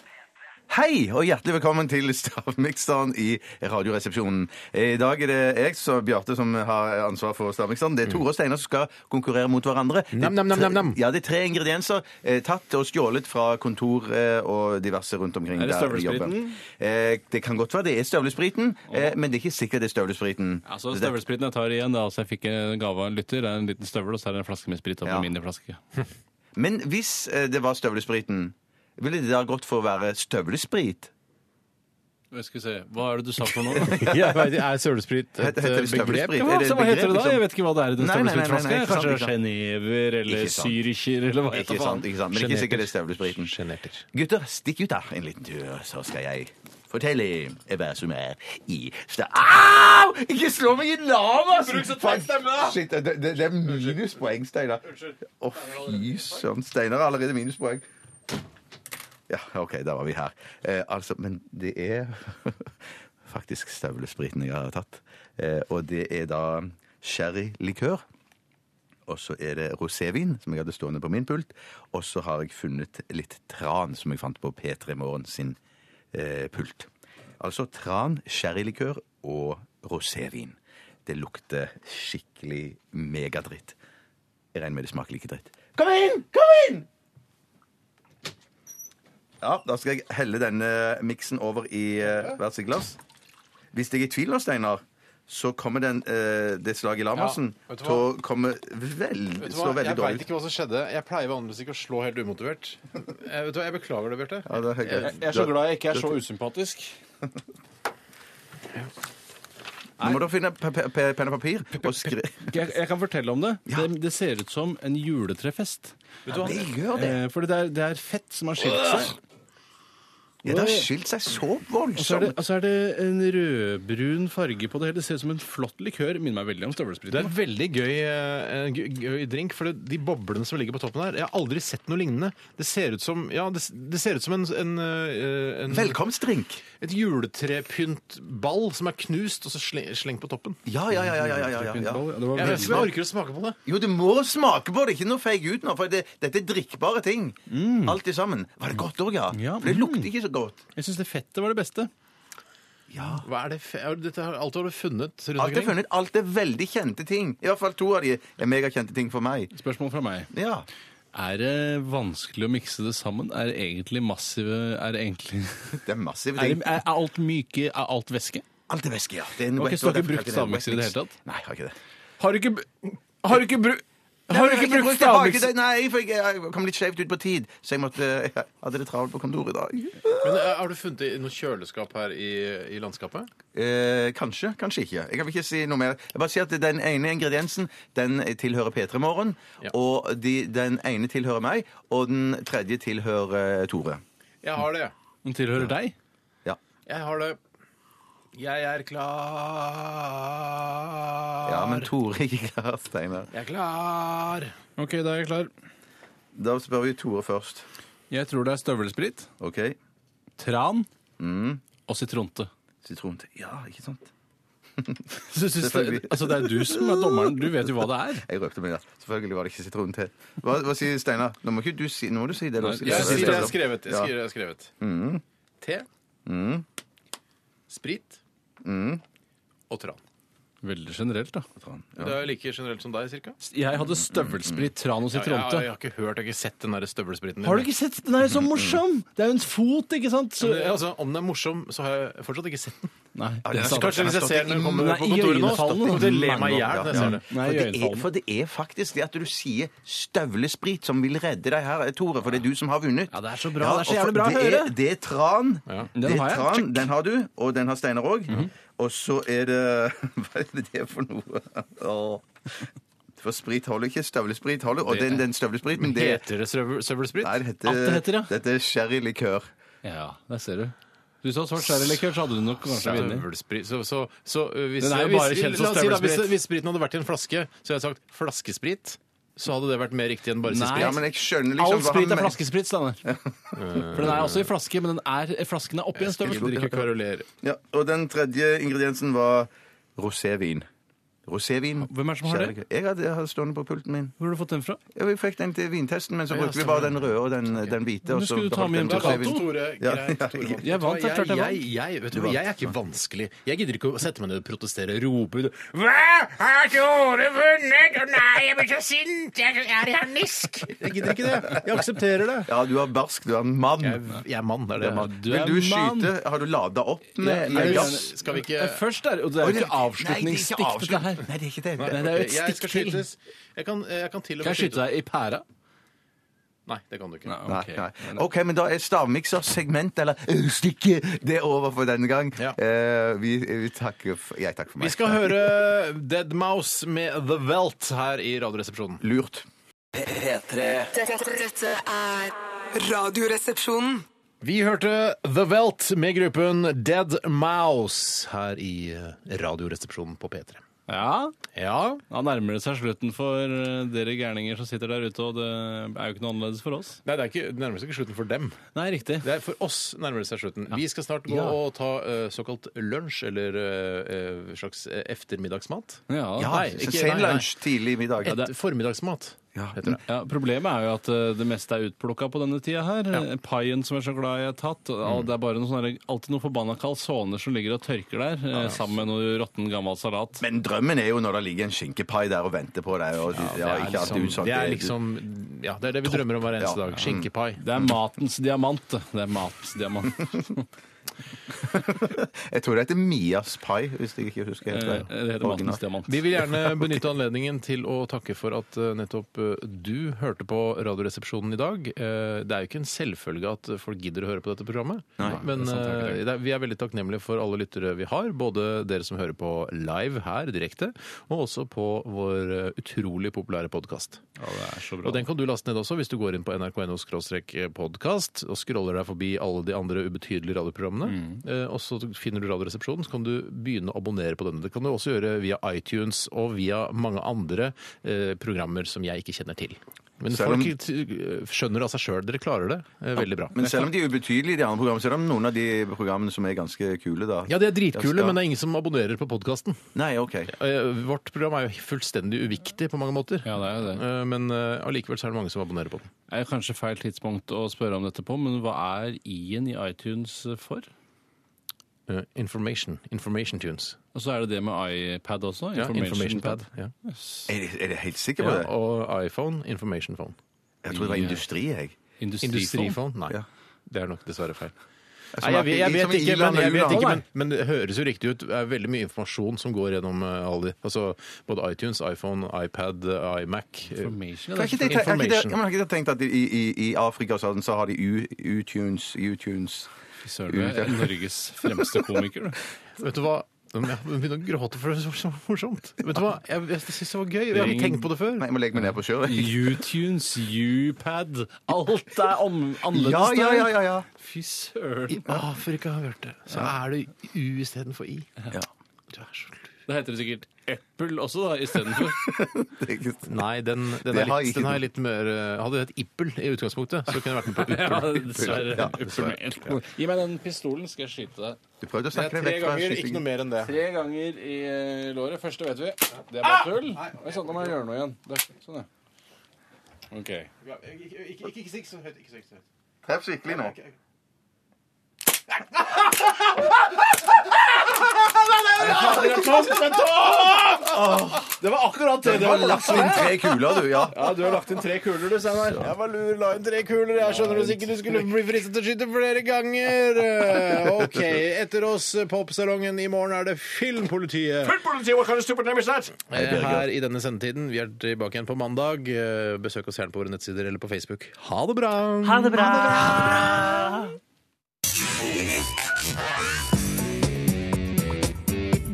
S4: Hei, og hjertelig velkommen til Stavmikseren i Radioresepsjonen. Eh, I dag er det jeg, så Bjarte, som har ansvar for Stavmikseren. Det er Tore og Steinar som skal konkurrere mot hverandre.
S3: Nam, nam, nam, nam, nam.
S4: Ja, det er tre ingredienser eh, tatt og stjålet fra kontor eh, og diverse rundt omkring.
S5: Er det
S4: der de jobber.
S5: støvlespriten?
S4: Eh, det kan godt være det er støvlespriten, eh, men det er ikke sikkert det er støvlespriten.
S5: Altså,
S4: Så det-
S5: Støvelspriten jeg tar igjen, da, altså jeg fikk en gave av en lytter. Det er en liten støvel, og så er det en flaske med sprit og
S4: Ja.
S5: en mindre flaske.
S4: Men hvis eh, det var støvlespriten, ville det da gått for å være støvlesprit?
S5: Jeg skal se, Hva er det du sa for noe? da?
S3: Jeg vet, er sølesprit
S4: Heter-
S3: et
S4: heter
S3: eh,
S4: det
S3: begrep?
S4: sølesprit?
S5: Ja,
S4: Er det
S5: altså, hva
S4: begrep,
S5: heter det da?
S4: liksom?
S5: Jeg vet ikke hva det er i den
S4: Nei, nei, nei, nei,
S5: støvelsprutflaska.
S4: ikke sant,
S5: Kanskje
S4: ikke sant.
S5: genever eller
S4: Ikke sant.
S5: syricher eller hva heter
S4: Ikke sant, ikke sant, men ikke sikkert det er støvlesprit.
S3: Sjenerter.
S4: Gutter, stikk ut da en liten tur, så skal jeg fortelle hva som er i støv... Au! Ikke slå meg i lava! Bruk så teit stemme, da! Shit, det, det, det er minuspoeng, Steinar. Å, fy søren. Steinar har allerede minuspoeng. Ja, OK, der var vi her. Eh, altså, men det er faktisk støvlespriten jeg har tatt. Eh, og det er da sherrylikør. Og så er det rosévin, som jeg hadde stående på min pult. Og så har jeg funnet litt tran, som jeg fant på P3 Morgen sin eh, pult. Altså tran, sherrylikør og rosévin. Det lukter skikkelig megadritt. Jeg regner med det smaker like dritt. Kom inn! Kom inn! Ja, da skal jeg helle denne miksen over i eh, hvert sitt glass. Hvis jeg er i tvil nå, Steinar, så kommer den, eh, det slaget i Lamassen
S3: Ja, vet du hva?
S4: til å komme vel,
S3: Vet du hva?
S4: slå veldig
S3: Jeg veit
S4: dårlig ut.
S3: ikke hva som skjedde. Jeg pleier vanligvis ikke å slå helt umotivert. Jeg, vet du hva? jeg beklager det, Bjarte.
S4: Ja, det er helt greit.
S5: Jeg er så glad jeg ikke er så usympatisk.
S4: Nå må du finne pe- pe- pe- penn og papir og skrive
S5: Jeg, jeg kan fortelle om det. det. Det ser ut som en juletrefest.
S3: Vet du hva?
S4: gjør
S5: Eh, fordi det er, det er fett som har skilt seg.
S4: Ja, det har skilt seg så
S5: Og så er, det, altså-
S4: voldsomt.
S5: og så er det en rødbrun farge på det hele. Det ser ut som en flott likør. Minner meg veldig om
S3: Det er
S5: støvlespriten.
S3: en veldig gøy, eh, gøy, gøy drink, for det- de boblene som ligger på toppen her Jeg har aldri sett noe lignende. Det ser ut som, ja, det, det ser ut som en, en, eh, en
S4: Velkomstdrink.
S3: Et juletrepyntball som er knust og så sle- slengt på toppen.
S4: Ja, ja, ja. ja, ja, ja, ja, ja.
S5: Det var
S3: Jeg, jeg,
S5: veldig-
S3: jeg orker å smake på det.
S4: Jo, du må smake på det. Ikke noe feig ut nå, for det, dette er drikkbare ting. Alt i sammen. Var det godt òg, ja?
S5: Mm. Ja,
S4: For det
S5: mm.
S4: lukter ikke så godt.
S5: Jeg syns det fettet var det beste.
S4: Ja.
S3: Hva er det fe- er det- Dette har alt har du funnet rundt
S4: Alt er
S3: omkring?
S4: funnet. Alt er veldig kjente ting. I hvert fall to av de er megakjente ting for meg.
S5: Spørsmål fra meg.
S4: Ja.
S5: Er det vanskelig å mikse det sammen? Er det egentlig massive Er det egentlig
S4: Det er massive
S5: Er, det,
S4: ting.
S5: er er alt myke? Er alt væske?
S4: Alt er væske, ja. Det er en
S5: Ok,
S4: wet-
S5: så du har ikke
S4: derfor kalte
S5: brukt
S4: det en
S5: stavmikser i det
S4: wet mix.
S5: hele tatt?
S4: Nei, jeg har ikke det.
S5: Har du ikke br- Har du ikke brukt har
S4: Nei,
S5: du ikke
S4: jeg
S5: brukt
S4: jeg har ikke
S5: stavmikser?
S4: det. Nei, for jeg, jeg kom litt skjevt ut på tid, så jeg, måtte, jeg hadde det travelt på kontoret i dag.
S3: Men, eh, har du funnet det i noe kjøleskap her i, i landskapet?
S4: Eh, kanskje, kanskje ikke. Jeg kan ikke si noe mer. Jeg bare sier at Den ene ingrediensen den tilhører P3 Morgen,
S3: Ja.
S4: og de, den ene tilhører meg, og den tredje tilhører eh, Tore.
S3: Jeg har det.
S5: Den tilhører deg.
S4: Ja.
S3: Jeg har det. Jeg er klar.
S4: ja, men Tore er ikke klar, Steinar.
S3: Jeg er klar.
S5: OK, da er jeg klar.
S4: Da spør vi Tore først.
S5: Jeg tror det er støvelsprit,
S4: OK?
S5: tran mm. og sitronte.
S4: Sitronte. Ja, ikke sant?
S5: Så synes det,
S4: Selvfølgelig.
S5: altså det er du som er dommeren. Du vet jo hva det er.
S4: Jeg røpte meg, ja. Selvfølgelig var det ikke sitronte. Hva, hva sier Steinar? Nå må ikke du si Nå må du si det. da.
S5: Nei,
S3: Jeg
S5: Jeg synes
S3: sier
S5: det
S3: det jeg har skrevet. Jeg
S4: Ja.
S3: skriver, det jeg har skrevet. Te. Sprit. Og tran.
S5: Veldig generelt, da.
S3: Det er jo like generelt som deg, cirka.
S5: Jeg hadde støvelsprit, tran og
S3: Ja, jeg, jeg,
S5: sitronte.
S3: har ikke hørt, jeg har ikke sett den der støvelspriten din.
S5: Har du ikke sett? Den er jo så morsom! Det er jo en fot, ikke sant? Så,
S3: Men, altså, om den er morsom, så har jeg fortsatt ikke sett den.
S5: nei,
S4: den
S5: det
S4: er
S5: er
S4: så kanskje-
S5: sant.
S3: Kanskje hvis jeg ser den når jeg kommer
S5: Nei,
S3: på kontoret nå, så
S5: iøynefallende.
S3: kommer jeg til å le meg i hjel når jeg ser det.
S5: Nei,
S4: for, det er,
S5: iøynefallende.
S4: for det er faktisk det at du sier støvlesprit som vil redde deg her, Tore. For det er du som har vunnet.
S5: Ja, det er så bra.
S4: og
S5: Det er så
S4: for-
S5: jævlig bra å
S4: det
S5: høre.
S4: Er, det er tran.
S5: Den
S4: Det er
S5: har jeg.
S4: tran. Den har du, og den har Steinar òg.
S5: Mhm.
S4: Og så er det Hva er det det for noe? Åh. For sprit holder ikke. Støvlesprit holder. Og den, den støvlespriten, det er
S3: Heter det støvel- støvelsprit?
S4: Nei, det heter,
S5: At det heter, ja.
S4: Dette er sherrylikør.
S5: Ja, der ser du. Du sa svart sherrylikør, så hadde du nok kanskje vunnet.
S3: Støvelsprit Så, så, så øh, hvis,
S5: Den er jo
S3: hvis-
S5: bare kjent som
S3: la oss si da, hvis,
S5: støvelsprit.
S3: hvis spriten hadde vært i en flaske, så hadde jeg sagt flaskesprit. Så hadde det vært mer riktig enn bare
S5: Nei.
S3: sprit.
S4: Ja, men jeg skjønner liksom
S5: All
S4: hva han
S5: sprit er
S4: men-
S5: flaskesprit, Steinar. For den er også i flaske, men den er, flasken er oppi en
S3: Jeg
S5: støvel.
S3: gidder ikke kverulere.
S4: Ja, og den tredje ingrediensen var rosévin. Rosévin.
S5: Hvem er det som har det?
S4: kjærlighet. Jeg hadde, jeg hadde stående på pulten min.
S5: Hvor har du fått den fra?
S4: Ja, vi fikk den til vintesten, men så brukte vi bare den røde og den, den hvite. og
S5: Men
S4: så
S5: skulle du ta
S4: beholdt
S5: med
S4: den
S5: hjem til
S4: rosévinen.
S5: Cato?
S3: Tore,
S4: Ja,
S3: greit,
S4: ja,
S3: Tore.
S4: jeg-
S5: Jeg vant, det er klart jeg vant.
S3: jeg, jeg, vet du, hva, jeg er ikke vanskelig. Jeg gidder ikke å sette meg ned og protestere, rope ut Hva? Har Tore vunnet? Å Nei, jeg blir så sint! Jeg er harnisk! Jeg gidder ikke det. Jeg aksepterer det.
S4: Ja, du er barsk, du er en mann.
S3: Jeg, jeg er mann, det er det. jeg er.
S5: Du
S4: Vil
S5: er
S4: du
S5: mann.
S4: skyte? Har du lada opp med,
S5: Jeg
S4: med
S5: vil
S4: gass?
S5: gjerne-
S3: Skal vi ikke-
S5: Nei, Først er, og det er jo ikke avslutningsstikk,
S4: Nei, det er
S5: dette her.
S4: ikke avslutning. Nei, det er ikke det.
S5: Nei, det er jo et
S3: Jeg
S5: stikk
S3: skal
S5: til.
S3: skytes. Jeg kan, jeg kan til og
S5: Kan
S3: med
S5: jeg skyte
S3: skyte
S5: deg i pæra?
S3: Nei, det kan du ikke.
S4: Nei, nei. OK, men da er stavmikser, segment eller øh, stikke det er over for denne gang.
S3: Ja.
S4: Eh, vi, vi takker for, Jeg takker for meg.
S3: Vi skal høre Dead Mouse med The Welt her i Radioresepsjonen.
S4: Lurt.
S2: P3
S6: Dette, dette er Radioresepsjonen.
S3: Vi hørte The Welt med gruppen Dead Mouse her i eh, Radioresepsjonen på P3.
S5: Ja,
S3: Ja.
S5: Da nærmer det seg slutten for eh, dere gærninger som sitter der ute, og det er jo ikke noe annerledes for oss.
S3: Nei, det er ikke, det nærmer seg ikke slutten for dem.
S5: Nei, riktig.
S3: Det er for oss nærmer det seg slutten. Vi skal snart gå
S5: Ja.
S3: og ta eh, såkalt lunsj, eller eh, eh, slags eh, eftermiddagsmat.
S5: Ja.
S3: Nei,
S4: Så
S3: ikke-
S4: Sen
S3: nei, nei.
S4: lunsj tidlig middag.
S3: Et formiddagsmat.
S4: Ja.
S3: Heter det.
S5: Ja, Problemet er jo at eh, det meste er utplukka på denne tida her. Eh, Paien som jeg er så glad jeg har tatt. Og det er bare noen sånne, alltid noen forbanna calzoner som ligger og tørker der, eh, sammen med noe råtten gammel salat.
S4: Men drømmen er jo når det ligger en skinkepai der og venter på deg. Og, ja,
S3: Det er
S4: ikke at du
S3: liksom,
S4: sa
S3: det er
S4: det-
S3: liksom Ja, det er det vi drømmer om hver eneste
S4: Ja.
S3: dag. Skinkepai.
S5: Det er matens diamant. Det er matens diamant.
S4: Jeg tror det heter Mias pai, hvis jeg ikke husker helt.
S5: Eh, Det heter matens
S4: originalt.
S5: diamant.
S3: Vi vil gjerne benytte anledningen til å takke for at eh, nettopp eh, du hørte på Radioresepsjonen i dag. Eh, Det er jo ikke en selvfølge at folk gidder å høre på dette programmet. men
S5: det er sant, det er ikke
S3: eh, det er- vi er veldig takknemlige for alle lyttere vi har. Både dere som hører på live her direkte, og også på vår eh, utrolig populære podkast.
S5: Ja, det er så
S3: Og
S5: bra.
S3: den kan du laste ned også hvis du går inn på nrk.no-podkast og scroller deg forbi alle de andre ubetydelige radioprogrammene.
S4: Mm.
S3: Eh, og så finner du Radioresepsjonen, så kan du begynne å abonnere på denne. Det kan du også gjøre via iTunes og via mange andre eh, programmer som jeg ikke kjenner til. Men
S4: Selv om-
S3: folk t- skjønner av seg sjøl. Dere klarer det eh, veldig bra.
S4: Men selv om de er ubetydelige, de andre programmene, så er det noen av de programmene som er ganske kule, da.
S3: Ja, de er dritkule,
S4: Ja, skal-
S3: men det er ingen som abonnerer på podkasten.
S4: Nei, OK.
S3: Vårt program er jo fullstendig uviktig på mange måter.
S5: Ja, det er jo det.
S3: Eh, Men eh, allikevel så er det mange som abonnerer på den.
S5: Det er kanskje feil tidspunkt å spørre om dette på, men hva er i-en i iTunes for?
S3: Eh, Information. Information tunes.
S5: Og så er det det med iPad også.
S3: Ja, information pad. Ja.
S4: Er de, er de helt sikre på
S3: Ja,
S4: det?
S3: og eh, iPhone, information phone.
S4: Jeg tror det var industri, jeg.
S5: Industriphone.
S3: Industriphone? Nei.
S4: Ja.
S3: Det er nok dessverre feil.
S4: som
S3: Nei, jeg, vet- jeg,
S4: er- som
S3: vet
S4: er
S3: ikke,
S4: i-land
S3: men,
S4: og
S3: jeg vet
S4: u-land.
S3: ikke men, men det høres jo riktig ut. Det er veldig mye informasjon som går gjennom eh, alle de altså, Både iTunes, iPhone, iPad, eh, iMac. eh,
S5: Information,
S4: Kan
S5: ja, det
S4: ikke
S5: er
S4: de, tenke- har ikke de,
S3: Information.
S4: ja, men har ikke de tenkt at i, i, i Afrika og sånn, så har de U- U-tunes, U-tunes
S5: fy søren, du er Norges fremste komiker, du.
S3: Vet du hva? Jeg begynner å gråte, for det er så morsomt. Vet du hva? Jeg, jeg syns det var gøy. Jeg har ikke tenkt på det før.
S4: Nei, jeg må legge meg ned på sjøen.
S5: U-tunes, U-pad, alt er om, annerledes
S4: Ja, ja, ja, ja, ja.
S5: der. Fy søren.
S3: I Afrika har jeg hørt det. Så er det U istedenfor I. Du er så lur.
S5: Da heter det sikkert Apple også, da, istedenfor.
S4: Det er ikke-
S3: Nei, den, den,
S4: Det
S3: er
S4: har
S3: litt,
S4: jeg ikke
S3: den har jeg litt mer eh, Hadde det hett Ippel i utgangspunktet, så kunne jeg vært med på Uppel.
S5: Ja, dessverre.
S4: Ja,
S5: Apple. Gi meg den pistolen, skal jeg skyte deg.
S4: Du prøvde å snakke
S3: Det
S4: deg
S3: er tre
S4: vekk fra
S3: ganger, ikke noe
S4: skytingen.
S3: mer enn det.
S5: Tre ganger i eh, låret. Første vet vi. Det er bare
S3: Ah!
S5: tull. Oi, sånn, nå må jeg gjøre noe igjen. Der. Sånn, ja. OK.
S3: Ikke sikk så høyt. ikke sikk så høyt.
S4: Treff skikkelig nå.
S3: Det var akkurat det!
S4: Du har lagt inn tre kuler, du. Ja.
S3: Ja, Du har lagt inn tre kuler, du, Steinar. Jeg var lur, la inn tre kuler. Jeg skjønner du sikkert du skulle bli fristet til å skyte flere ganger. Eh, OK. Etter oss, eh, Popsalongen. I morgen er det Filmpolitiet. Eh, Her i denne sendetiden. Vi er tilbake igjen på mandag. Eh, Besøk oss gjerne på våre nettsider eller på Facebook. Ha det bra!